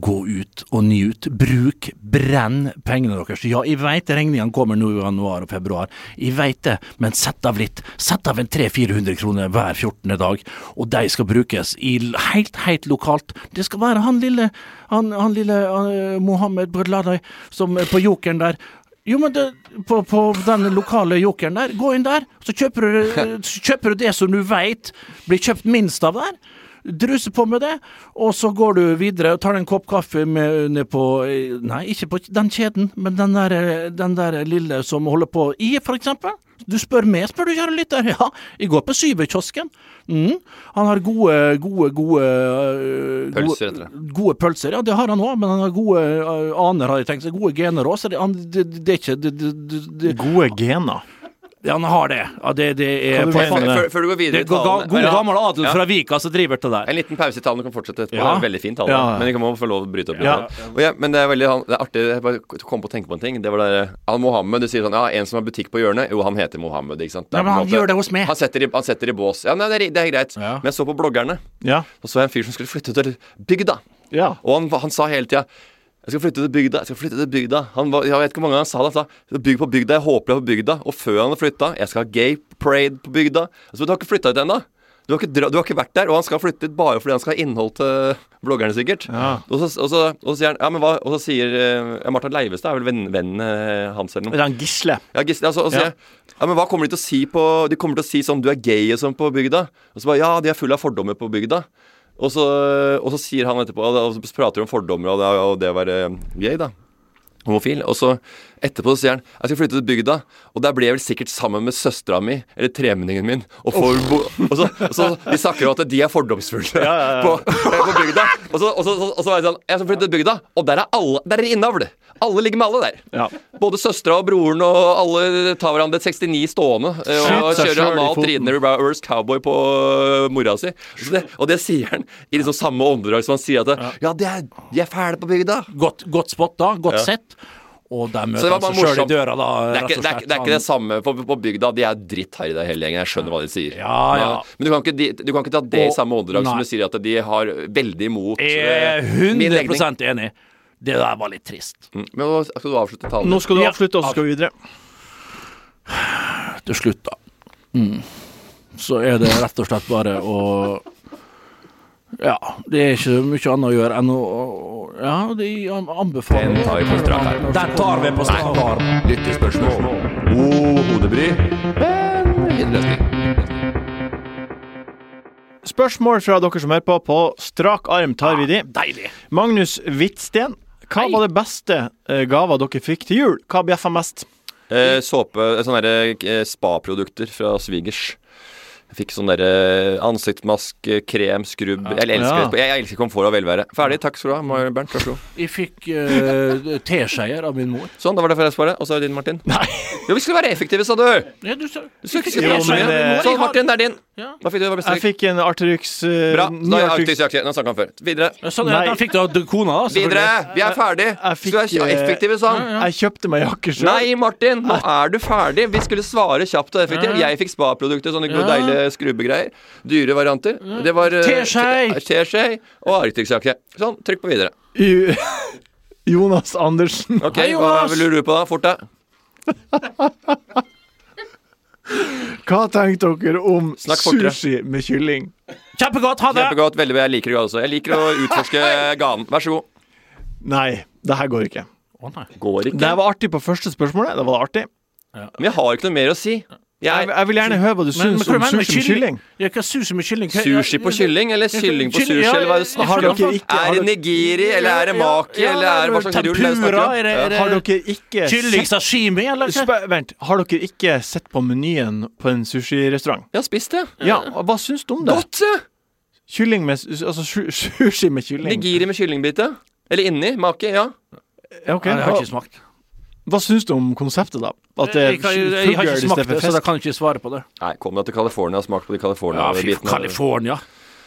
Speaker 5: gå ut og nyt. Bruk, brenn pengene deres. Ja, jeg veit regningene kommer nå i januar og februar, jeg veit det, men sett av litt. Sett av en 300-400 kroner hver 14. dag, og de skal brukes i l- helt, helt lokalt. Det skal være han lille, han, han lille eh, Mohammed Bredladai som er på jokeren der. Jo, men det, på, på den lokale jokeren der, gå inn der, så kjøper du, eh, så kjøper du det som du veit blir kjøpt minst av der. Druse på med det, og så går du videre og tar deg en kopp kaffe med, ned på eh, Nei, ikke på den kjeden, men den der, eh, den der lille som holder på i, for eksempel. Du spør meg, spør du, kjære lytter. Ja, jeg går på Syverkiosken. Mm. Han har gode, gode, gode øh,
Speaker 4: Pølser,
Speaker 5: gode-
Speaker 4: heter
Speaker 5: Gode pølser, ja, det har han òg, men han har gode øh, aner, har jeg tenkt. seg. Gode gener òg, så det, han, det, det er ikke det, det, det, det.
Speaker 2: Gode gener?
Speaker 5: Ja, han har det. Ja, det, det er
Speaker 4: Hva du mener med det? Før- før du går videre i
Speaker 5: Det er go- ga-
Speaker 4: talen-
Speaker 5: god
Speaker 4: Ja.
Speaker 5: gammel adel
Speaker 4: Ja.
Speaker 5: fra Vika som driver til der.
Speaker 4: En liten pause i talen, du kan fortsette etterpå.
Speaker 5: Ja.
Speaker 4: Det er en veldig fin tale,
Speaker 5: Ja, ja.
Speaker 4: men vi kan må få lov å bryte opp. litt
Speaker 5: Ja.
Speaker 4: da. Og ja, men det er veldig han- det er artig, jeg bare kom på å tenke på en ting. Det var det Al-Mohammed, du sier sånn Ja, en som har butikk på hjørnet. Jo, han heter Mohammed, ikke sant. Det er
Speaker 5: Ja, men
Speaker 4: på en
Speaker 5: han gjør det hos meg.
Speaker 4: Han setter i, han setter i bås. Ja, nei, det er, det er greit. Men jeg så på bloggerne,
Speaker 2: Ja.
Speaker 4: og så jeg en fyr som skulle flytte til bygda. Og han, han sa hele tida jeg skal flytte til bygda. jeg skal flytte til bygda han var, Jeg vet ikke hvor mange han sa det. Han sa bygg på bygda, jeg håper jeg er på bygda. Og før han har flytta, jeg skal ha gay parade på bygda. Altså, du har ikke flytta ut ennå. Du har, ikke, dra- du har ikke vært der, og han skal flytte dit bare fordi han skal ha innhold til bloggerne, sikkert. Og, så, og, så, og så sier han Ja, men hva Og så sier eh, ja, Martha Leivestad, er vel venn- vennen eh, hans eller noe.
Speaker 2: Men han Gisle.
Speaker 4: Ja, Gisle, altså, og
Speaker 2: Ja.
Speaker 4: så sier jeg, ja, men hva kommer de til å si på De kommer til å si sånn Du er gay og sånn på bygda. Og så bare Ja, de er fulle av fordommer på bygda. Og så, og så sier han etterpå Og så prater de om fordommer og det, og det å være gay, da. Homofil. Og så etterpå så sier han Jeg skal flytte til bygda, og der blir jeg vel sikkert sammen med søstera mi eller tremenningen min. Og, får bo og, så, og så De snakker om at de er fordomsfulle
Speaker 2: ja, ja.
Speaker 4: På, på bygda. Og så, og, så, og så er det sånn Jeg skal flytte til bygda, og der er alle Der er det innavl. Alle ligger med alle der. Både søstera og broren og alle tar hverandre 69 stående eh, og
Speaker 2: Skyt seg
Speaker 4: kjører
Speaker 2: selv i
Speaker 4: analt
Speaker 2: foten.
Speaker 4: ridende reverse cowboy på eh, mora si. Så det, og det sier han i liksom samme åndedrag som han sier at det, Ja, de er, de er fæle på bygda.
Speaker 5: Godt, godt spot da,
Speaker 4: Ja.
Speaker 5: godt sett. Og der
Speaker 4: Så det
Speaker 5: møter
Speaker 4: var
Speaker 5: han
Speaker 4: bare
Speaker 5: seg sjøl i
Speaker 4: morsomt.
Speaker 5: døra, da.
Speaker 4: det, er
Speaker 5: rett
Speaker 4: ikke,
Speaker 5: og
Speaker 4: det, er,
Speaker 5: slett.
Speaker 4: ikke-
Speaker 5: sånn-
Speaker 4: det er ikke
Speaker 5: Han-
Speaker 4: det samme på, på bygda. De er drittharry, det hele gjengen. Jeg skjønner hva de sier.
Speaker 5: Ja, ja.
Speaker 4: Men du kan ikke, de, du kan ikke ta det i
Speaker 5: Og-
Speaker 4: samme åndedrag som du
Speaker 5: nei.
Speaker 4: sier at de har veldig imot
Speaker 5: Jeg er
Speaker 4: eh, min legning.
Speaker 5: 100 enig. Det der var litt trist.
Speaker 4: Mm. Men nå skal du avslutte talen?
Speaker 2: Nå skal du
Speaker 5: Ja.
Speaker 2: avslutte, og så skal vi videre.
Speaker 5: Til slutt, da. Mm. Så er det rett og slett bare å Ja, det er ikke mye annet å gjøre enn å å- Ja, de an- anbefaler Den tar vi på strak arm. Den tar vi på strak arm.
Speaker 4: Lyttespørsmål. God hodebry.
Speaker 2: Spørsmål fra dere som hører på. På strak arm tar vi de.
Speaker 5: Deilig.
Speaker 2: Magnus Hvitsten, hva var det beste eh, gava dere fikk til jul? Hva bjeffa mest?
Speaker 4: Eh, såpe eh, Sånne der, eh, spaprodukter fra svigers. Jeg fikk sånn derre ansiktsmaske, krem, skrubb Jeg elsker,
Speaker 5: Ja.
Speaker 4: det. jeg elsker komfort og velvære. Ferdig. Takk skal du ha, Mar- Bernt. Vær så god.
Speaker 5: Jeg fikk eh, teskeier av min mor.
Speaker 4: Sånn, da var det for svaret. Og så er det din, Martin. Nei. Jo, vi skulle være effektive, sa du!
Speaker 5: Ja, du sa
Speaker 4: Du skal ikke
Speaker 2: Jo,
Speaker 4: skrive så
Speaker 2: men,
Speaker 4: mye.
Speaker 2: eh,
Speaker 4: Sånn, Martin, det er din. Hva fikk du? Hva
Speaker 2: Jeg fikk en Arterix eh,
Speaker 4: Bra.
Speaker 2: ny
Speaker 4: Da er
Speaker 2: Arterix-
Speaker 4: Arktis jakte. Nå snakka han før. Videre.
Speaker 5: Sånn, ja, da fikk du av kona, da. selvfølgelig.
Speaker 4: Videre! Vi er ferdig. Du er så
Speaker 2: eh,
Speaker 4: effektiv, sa han.
Speaker 2: Jeg kjøpte meg jakke sjøl.
Speaker 4: Nei, Martin, nå er du ferdig. Vi skulle svare kjapt og effektivt.
Speaker 2: Ja.
Speaker 4: Jeg fikk spaprodukter, sånne gode,
Speaker 2: Ja.
Speaker 4: deilige skrubbegreier. Dyre varianter. Det var eh,
Speaker 2: Teskei.
Speaker 4: te- Teskei og Arctic-jakke. Sånn, trykk på videre.
Speaker 2: I- Jonas Andersen.
Speaker 4: Ok, Hva lurer du på da? Fort deg.
Speaker 2: Hva tenkte dere om
Speaker 4: Snakk fortere.
Speaker 2: sushi med kylling?
Speaker 5: Kjempegodt. Ha det!
Speaker 4: Kjempegodt. Veldig bra. Jeg liker det også. Jeg liker å utforske ganen. Vær så god.
Speaker 2: Nei, det her går ikke.
Speaker 4: Går ikke.
Speaker 2: Det var artig på første spørsmålet. Det var artig.
Speaker 4: Men jeg har ikke noe mer å si. Jeg,
Speaker 2: Jeg vil gjerne høre hva du
Speaker 5: Men-
Speaker 2: syns
Speaker 5: men hva
Speaker 2: om
Speaker 5: mener du med
Speaker 2: sushi med kylling.
Speaker 5: Ja, hva er sushi med kylling? Hva-
Speaker 4: Sushi på kylling, eller
Speaker 5: Ja,
Speaker 4: kylling på
Speaker 5: eh,
Speaker 4: sushi,
Speaker 5: kylling, ja,
Speaker 4: eller hva er det du
Speaker 5: ja,
Speaker 4: snakker
Speaker 5: ja.
Speaker 4: om? Er det nigiri, eller er det maki,
Speaker 5: Ja,
Speaker 4: eller er det hva slags rull er det du snakker
Speaker 5: tempura,
Speaker 4: om?
Speaker 5: er det- er det-
Speaker 2: Har dere ikke
Speaker 5: Kylling
Speaker 2: sett-
Speaker 5: sashimi, eller? hva?
Speaker 2: Spør- Vent, har dere ikke sett på menyen på en sushirestaurant?
Speaker 4: Jeg har spist det.
Speaker 2: Ja, og hva syns du om det?
Speaker 4: Godt, ja.
Speaker 2: Kylling med su- Altså su- sushi med kylling.
Speaker 4: Nigiri med kyllingbite. Eller inni. Maki, ja.
Speaker 2: Ja, ok.
Speaker 5: Nei, jeg har ikke
Speaker 2: Hva,
Speaker 5: smakt.
Speaker 2: hva syns du om konseptet, da? At det er
Speaker 5: Jeg, kan- jeg
Speaker 2: fugl
Speaker 5: har ikke
Speaker 2: i stedet
Speaker 5: smakt
Speaker 2: for
Speaker 5: det, så da
Speaker 2: fisk?
Speaker 5: kan jeg ikke svare på det.
Speaker 4: Nei, kom deg til California og smak på de
Speaker 5: Ja, fy
Speaker 4: California-bitene.
Speaker 5: California.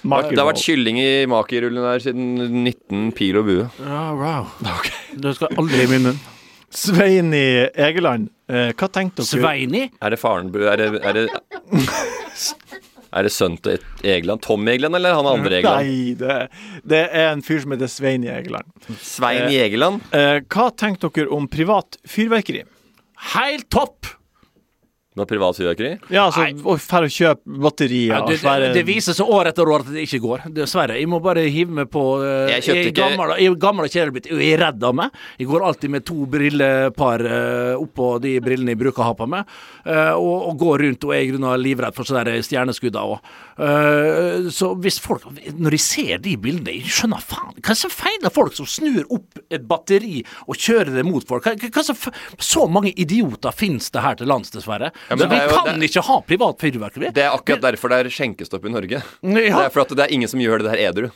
Speaker 4: det har vært kylling i makirullen her siden 19 pil og bue.
Speaker 5: Ja, Ah, wow. Det skal aldri i min munn.
Speaker 2: Sveini Egeland, eh, hva tenkte dere?
Speaker 5: Sveini?
Speaker 4: Er det faren bu... Er det, er det Er det sønnen til Egeland? Tom Egeland, eller han andre Egeland?
Speaker 2: Nei, det, det er en fyr som heter Sveini Egeland.
Speaker 4: Svein Jægeland?
Speaker 2: Eh, hva tenkte dere om privat fyrverkeri?
Speaker 5: Helt topp!
Speaker 4: Med privat fyrverkeri?
Speaker 2: Ja, altså å færre å kjøpe batterier
Speaker 5: Ja,
Speaker 2: og
Speaker 5: det,
Speaker 2: svære
Speaker 5: det, det viser seg år etter år at det ikke går. Dessverre. Jeg må bare hive meg på eh,
Speaker 4: Jeg kjøpte
Speaker 5: Jeg er
Speaker 4: ikke-
Speaker 5: gammel, jeg er gammel og kjedelig blitt. Jeg er redd av meg. Jeg går alltid med to brillepar eh, oppå de brillene jeg bruker å ha på meg, eh, og, og går rundt og er i grunnen livredd for sånne der stjerneskudd òg. så hvis folk Når de ser de bildene, jeg skjønner faen Hva er det som feiler folk som snur opp et batteri og kjører det mot folk? Hva, hva hva som f- Så mange idioter finnes det her til lands, dessverre.
Speaker 4: Ja, men
Speaker 5: så
Speaker 4: det
Speaker 5: vi
Speaker 4: er jo-
Speaker 5: kan
Speaker 4: det-
Speaker 5: ikke ha privat fyrverkeri.
Speaker 4: Det er akkurat derfor det er skjenkestopp i Norge. Det
Speaker 5: Ja.
Speaker 4: er for at det er ingen som gjør det der edru.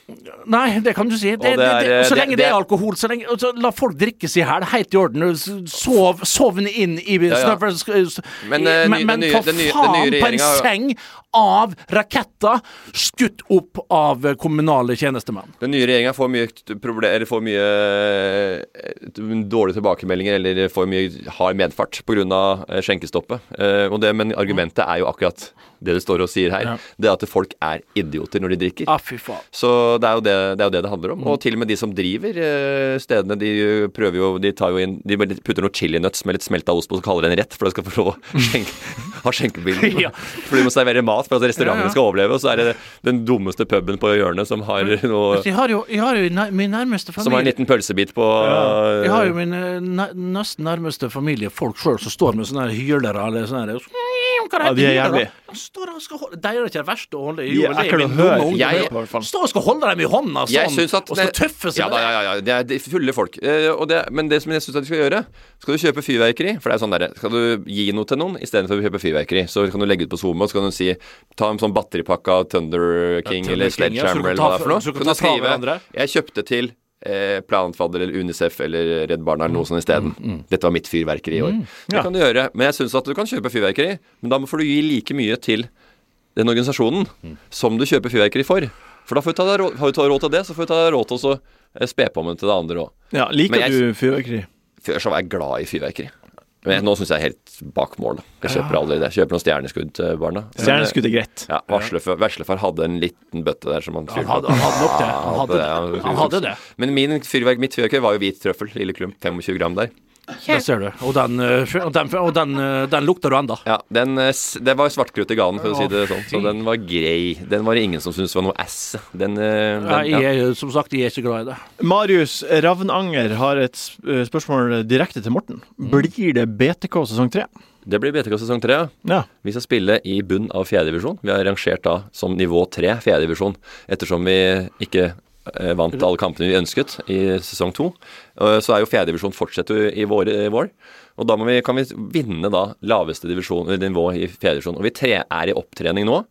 Speaker 5: Nei, det kan du si. Det,
Speaker 4: det
Speaker 5: det, det,
Speaker 4: er,
Speaker 5: så
Speaker 4: det-
Speaker 5: lenge det,
Speaker 4: det-
Speaker 5: er alkohol, så lenge så La folk drikke seg i hæl, helt i orden. S- Sov, sovne inn i
Speaker 4: ja.
Speaker 5: snøvel- s-
Speaker 4: Men, eh, ny-
Speaker 5: men, men
Speaker 4: den nye-
Speaker 5: for
Speaker 4: den nye- den
Speaker 5: faen,
Speaker 4: nye
Speaker 5: på en
Speaker 4: regjeringen-
Speaker 5: seng av raketter skutt opp av eh, kommunale tjenestemenn.
Speaker 4: Den nye regjeringa får mye, t- proble- eller får mye eh, dårlige tilbakemeldinger eller får mye hard medfart pga. skjenkestoppet. Eh, Og det, men argumentet er jo akkurat det det står og sier her.
Speaker 5: Ja.
Speaker 4: Det er at folk er idioter når de drikker.
Speaker 5: Ah, fy faen.
Speaker 4: Så det er, jo det, det er jo det det handler
Speaker 5: Mm.
Speaker 4: om. Og til og med de som driver eh, stedene, de eh, prøver jo De tar jo inn De bare putter noen chilinøtts med litt smelta ost på og kaller det en rett, for det skal få lov å skjenke, ha skjenkebilen.
Speaker 5: Ja.
Speaker 4: For de må servere mat for at restaurantene
Speaker 5: Ja, ja.
Speaker 4: skal overleve, og så er det den dummeste puben på hjørnet som har
Speaker 5: Mm.
Speaker 4: noe
Speaker 5: Jeg har jo, jeg har jo na- min nærmeste
Speaker 4: som har en
Speaker 5: familie
Speaker 4: liten pølsebit på
Speaker 5: Jeg har jo min eh, na, nesten nærmeste familie, folk sjøl, som står med sånne her hylere eller sånne her Hva
Speaker 2: Ja, de er
Speaker 5: hylere?
Speaker 2: jævlig.
Speaker 5: De står og skal holde- De er ikke det verste å holde i
Speaker 2: De er
Speaker 5: jo, det er
Speaker 2: ekle
Speaker 5: min
Speaker 2: å
Speaker 5: dumme
Speaker 2: høre.
Speaker 5: ungdom.
Speaker 4: Jeg-
Speaker 5: Står og skal holde dem i hånda sånn,
Speaker 4: Jeg synes at
Speaker 5: og skal
Speaker 4: det-
Speaker 5: tøffe seg
Speaker 4: ja, da, ja, ja, ja, det er de fulle folk. Eh, og det, men det som jeg syns du skal gjøre Skal du kjøpe fyrverkeri, for det er sånn derre Skal du gi noe til noen istedenfor å kjøpe fyrverkeri, så kan du legge ut på SoMe, og så kan du si Ta en sånn batteripakke av Thunder King
Speaker 5: Thunder
Speaker 4: eller
Speaker 5: King, ja, så
Speaker 4: Sledgehammer
Speaker 5: du kan
Speaker 4: eller
Speaker 5: ta
Speaker 4: hva det er for noe.
Speaker 5: fra- så
Speaker 4: kan
Speaker 5: du kan
Speaker 4: du
Speaker 5: ta fra
Speaker 4: skrive
Speaker 5: hverandre.
Speaker 4: Jeg kjøpte til eh, Planfadder eller Unicef eller Redd Barna eller noe sånt isteden. Dette var mitt fyrverkeri i år. Det
Speaker 2: ja.
Speaker 4: kan du gjøre, men jeg syns at du kan kjøpe fyrverkeri, men da må- får du gi like mye til den organisasjonen som du kjøper fyrverkeri for. For da får du ta deg råd, har du ta råd til det, så får du ta deg råd til å så, eh, spe på med til det andre òg.
Speaker 2: Ja, liker
Speaker 4: Men jeg-
Speaker 2: du fyrverkeri?
Speaker 4: Før så var jeg glad i fyrverkeri. Men jeg, nå syns jeg er helt bak mål. da. Jeg kjøper aldri det. Jeg Kjøper noen stjerneskudd til barna. Men, eh,
Speaker 2: Stjerneskudd er greit.
Speaker 4: Ja, Veslefar veslefar hadde en liten bøtte der som han fyrte.
Speaker 5: hadde- han hadde nok det.
Speaker 4: Ja,
Speaker 5: Han hadde det.
Speaker 4: ja,
Speaker 5: Han hadde det.
Speaker 4: Men min fyrverk, mitt fyrverkeri var jo hvit trøffel. Lille klump. 25 gram der.
Speaker 5: Det ser du. Og den, eh, fj- og den, fj- og den, eh, den lukter du enda
Speaker 4: Ja, den, eh, s- det var svartkrutt i ganen, for å si det
Speaker 5: Å,
Speaker 4: sånn.
Speaker 5: fy.
Speaker 4: Så den var grei. Den var det ingen som syntes var noe ass. Den, eh, den
Speaker 5: Nei, jeg,
Speaker 4: ja.
Speaker 5: er- som sagt, jeg er ikke glad i det.
Speaker 2: Marius Ravnanger har et s- eh, spørsmål direkte til Morten.
Speaker 4: Mm.
Speaker 2: Blir det BTK sesong tre?
Speaker 4: Det blir BTK sesong tre. ja.
Speaker 2: Ja.
Speaker 4: Vi skal spille i bunn av fjerdedivisjon. Vi har rangert da som nivå tre fjerdedivisjon, ettersom vi ikke eh, vant alle kampene vi ønsket i sesong to. Eh, Så er jo fjerdedivisjon fortsetter jo i vår. I vår. Og da må eh, vi, kan vi vinne da laveste divisjon, nivå i fjerdedivisjon. Og vi tre er i opptrening nå.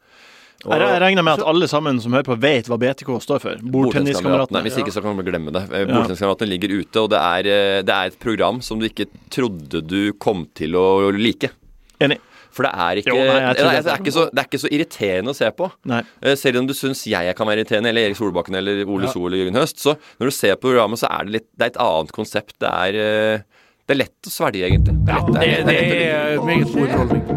Speaker 2: Jeg re- jeg regner med at alle sammen som hører på, vet hva BTK står for. Bordtenniskameratene.
Speaker 4: Hvis ikke så kan man glemme det. Eh,
Speaker 2: Ja.
Speaker 4: Bordtenniskameratene ligger ute, og det er, eh, det er et program som du ikke trodde du kom til å like.
Speaker 2: Enig.
Speaker 4: For det er ikke, altså,
Speaker 2: Jo, nei, jeg tror
Speaker 4: det, er,
Speaker 2: det.
Speaker 4: det, er ikke så, det er ikke så irriterende å se på.
Speaker 2: Nei.
Speaker 4: Eh, Selv om du syns jeg kan være irriterende, eller Erik Solbakken eller Ole
Speaker 2: Ja.
Speaker 4: So eller Jørgen Høst, så når du ser på programmet, så er det, litt, det er et annet konsept. Det er, eh, det er lett å svelge, egentlig. Det er lett,
Speaker 5: Det, det er meget god underholdning.
Speaker 13: Hva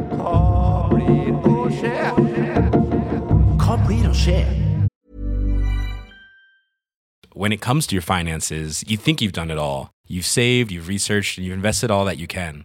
Speaker 13: blir å skje? When it comes to your finances, you think you've done it all. You've saved, you've researched, and you've invested all that you can.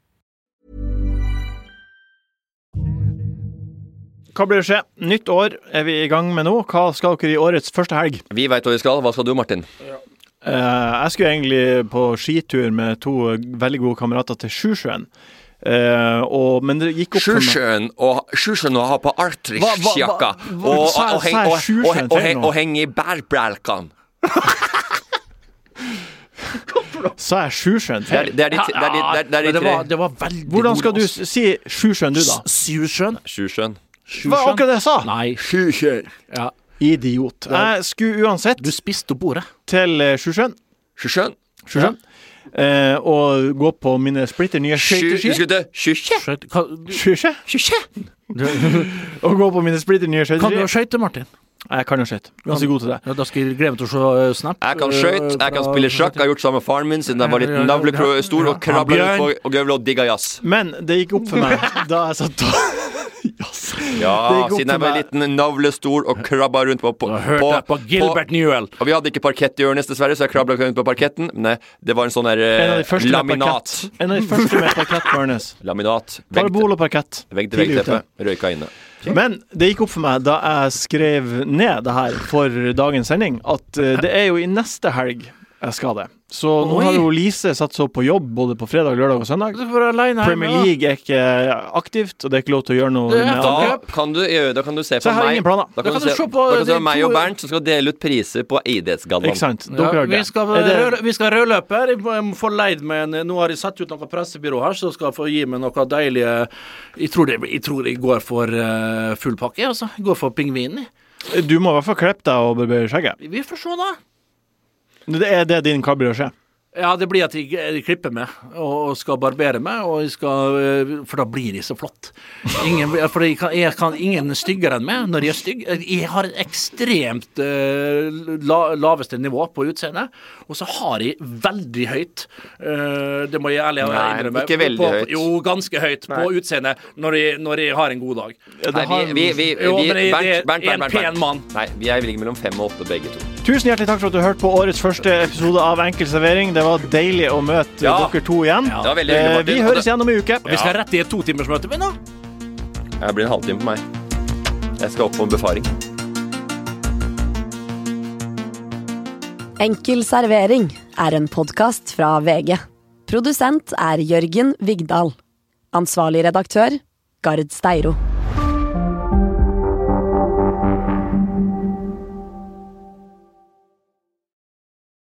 Speaker 2: Hva blir det skje? Nytt år er vi i gang med nå. Hva skal dere i årets første helg?
Speaker 4: Vi veit hva vi skal. Hva skal du, Martin?
Speaker 2: Eh, jeg skulle egentlig på skitur med to eh, veldig gode kamerater til Sjusjøen. Eh, og, men det gikk opp for meg-
Speaker 4: Sjusjøen og, sjusjøen og ha på Artrix-jakka.
Speaker 2: Hva- hva- hva-
Speaker 4: Og, og,
Speaker 2: Sa-
Speaker 4: og, heng-
Speaker 2: sa jeg
Speaker 4: og,
Speaker 2: sjusjøen
Speaker 4: og, og,
Speaker 2: feil
Speaker 4: heng-
Speaker 2: nå?
Speaker 4: og henge i bærbjelkene.
Speaker 2: Sa jeg Sjusjøen
Speaker 4: Det er-
Speaker 2: feil?
Speaker 4: det er de- det er de- det er- det er de
Speaker 2: Men
Speaker 4: tre.
Speaker 2: var- det var veldig Hvordan skal du s- si Sjusjøen, du, da?
Speaker 5: Sjusjøen?
Speaker 4: Sjusjøen.
Speaker 2: Hva var akkurat det jeg sa?
Speaker 5: Nei.
Speaker 2: Sjusjøen. Ja. Idiot. Jeg skulle uansett
Speaker 5: Du spiste opp ordet.
Speaker 2: Til eh, Sjusjøen.
Speaker 4: Sjusjøen.
Speaker 2: Sjusjøen. Eh, og gå på mine splitter nye skøyteski. Sjusjø? Og gå på mine splitter nye skøyteski.
Speaker 5: Kan du skøyte, Martin?
Speaker 2: Jeg kan jo skøyte. Ganske god til det.
Speaker 5: Ja, da skal jeg glede meg til å se eh, Snap.
Speaker 4: Jeg kan skøyte, jeg kan spille sjakk. Jeg har gjort sammen med faren min siden jeg var liten. Da ble jeg stor og krabla rundt på- og gøvla og digga jazz.
Speaker 2: Men det gikk opp for meg da jeg satt og
Speaker 4: Ja,
Speaker 2: Det gikk opp
Speaker 4: siden jeg
Speaker 2: for
Speaker 4: var
Speaker 2: meg.
Speaker 4: liten, navlestor og krabba rundt på, på,
Speaker 5: hørte jeg på Gilbert Newell.
Speaker 4: Og vi hadde ikke parkett i Ørnes, dessverre, så jeg krabla rundt på parketten. Nei, det var en sånn der
Speaker 2: En av de
Speaker 4: eh,
Speaker 2: første
Speaker 4: laminat.
Speaker 2: med parkett. En av de første med parkett, Barnes.
Speaker 4: Laminat. Vegg
Speaker 2: Parabol og parkett.
Speaker 4: vegg til
Speaker 2: Tidlig ute.
Speaker 4: vegg-teppe. Røyka inne.
Speaker 2: Men det gikk opp for meg da jeg skrev ned det her for dagens sending, at eh, det er jo i neste helg jeg skal det. Så nå
Speaker 5: Oi.
Speaker 2: har jo Lise satt seg opp på jobb både på fredag, lørdag og søndag.
Speaker 5: alene hjemme,
Speaker 2: Premier
Speaker 5: da.
Speaker 2: League er ikke eh, aktivt, og det er ikke lov til å gjøre noe med
Speaker 4: Da
Speaker 2: andre.
Speaker 4: kan, du, gjøre- da kan du se
Speaker 2: Så jeg
Speaker 4: på
Speaker 2: har
Speaker 4: meg
Speaker 2: ingen planer.
Speaker 4: Da kan du se, på da kan du se
Speaker 5: de
Speaker 4: meg
Speaker 5: to-
Speaker 4: og Bernt som skal dele ut priser på Idrettsgallaen.
Speaker 2: Ikke sant?
Speaker 5: Ja,
Speaker 2: Dere har
Speaker 5: vi,
Speaker 2: det.
Speaker 5: skal,
Speaker 2: Er det-
Speaker 5: rød, vi skal ha rødløper. Jeg må- jeg må få leid meg en Nå har jeg satt ut noe pressebyrå her, så skal jeg få gi meg noe deilige Jeg tror det- jeg, tror jeg går for eh, full pakke, jeg, altså. Jeg går for pingvinen, jeg.
Speaker 2: Du må i hvert fall klippe deg og barbere skjegget.
Speaker 5: Vi får se, da.
Speaker 2: Det er det din kabel å skje.
Speaker 5: Ja, det blir at jeg, jeg klipper meg og, og skal barbere meg, og jeg skal, eh, for da blir jeg så flott. Ingen, for jeg kan, jeg kan ingen er styggere enn meg når jeg er stygg. Jeg har et ekstremt eh, la, laveste nivå på utseendet, og så har jeg veldig høyt eh, Det må jeg ærlig
Speaker 4: Nei,
Speaker 5: innrømme.
Speaker 4: ikke veldig
Speaker 5: på, på,
Speaker 4: høyt.
Speaker 5: Jo, ganske høyt
Speaker 4: Nei.
Speaker 5: på utseendet når jeg, når jeg har en god dag.
Speaker 4: Nei, vi, vi, vi,
Speaker 5: Jo,
Speaker 4: vi,
Speaker 5: men jeg-
Speaker 4: Bernt, Bernt, Bernt,
Speaker 5: jeg er
Speaker 4: Bernt,
Speaker 5: en pen
Speaker 4: Bernt.
Speaker 5: mann.
Speaker 4: Nei, vi er ligger mellom fem og åtte, begge to.
Speaker 2: Tusen hjertelig takk for at du hørte på årets første episode av Enkel servering. Det var deilig å møte
Speaker 5: Ja.
Speaker 2: dere to igjen.
Speaker 5: Ja. Det var veldig hyggelig,
Speaker 2: Eh,
Speaker 5: Martin.
Speaker 2: vi høres igjen om en uke.
Speaker 5: Vi skal rett i et totimersmøte, vi nå.
Speaker 4: Det blir en halvtime på meg. Jeg skal opp på en befaring.
Speaker 1: Enkel servering er en podkast fra VG. Produsent er Jørgen Vigdal. Ansvarlig redaktør, Gard Steiro.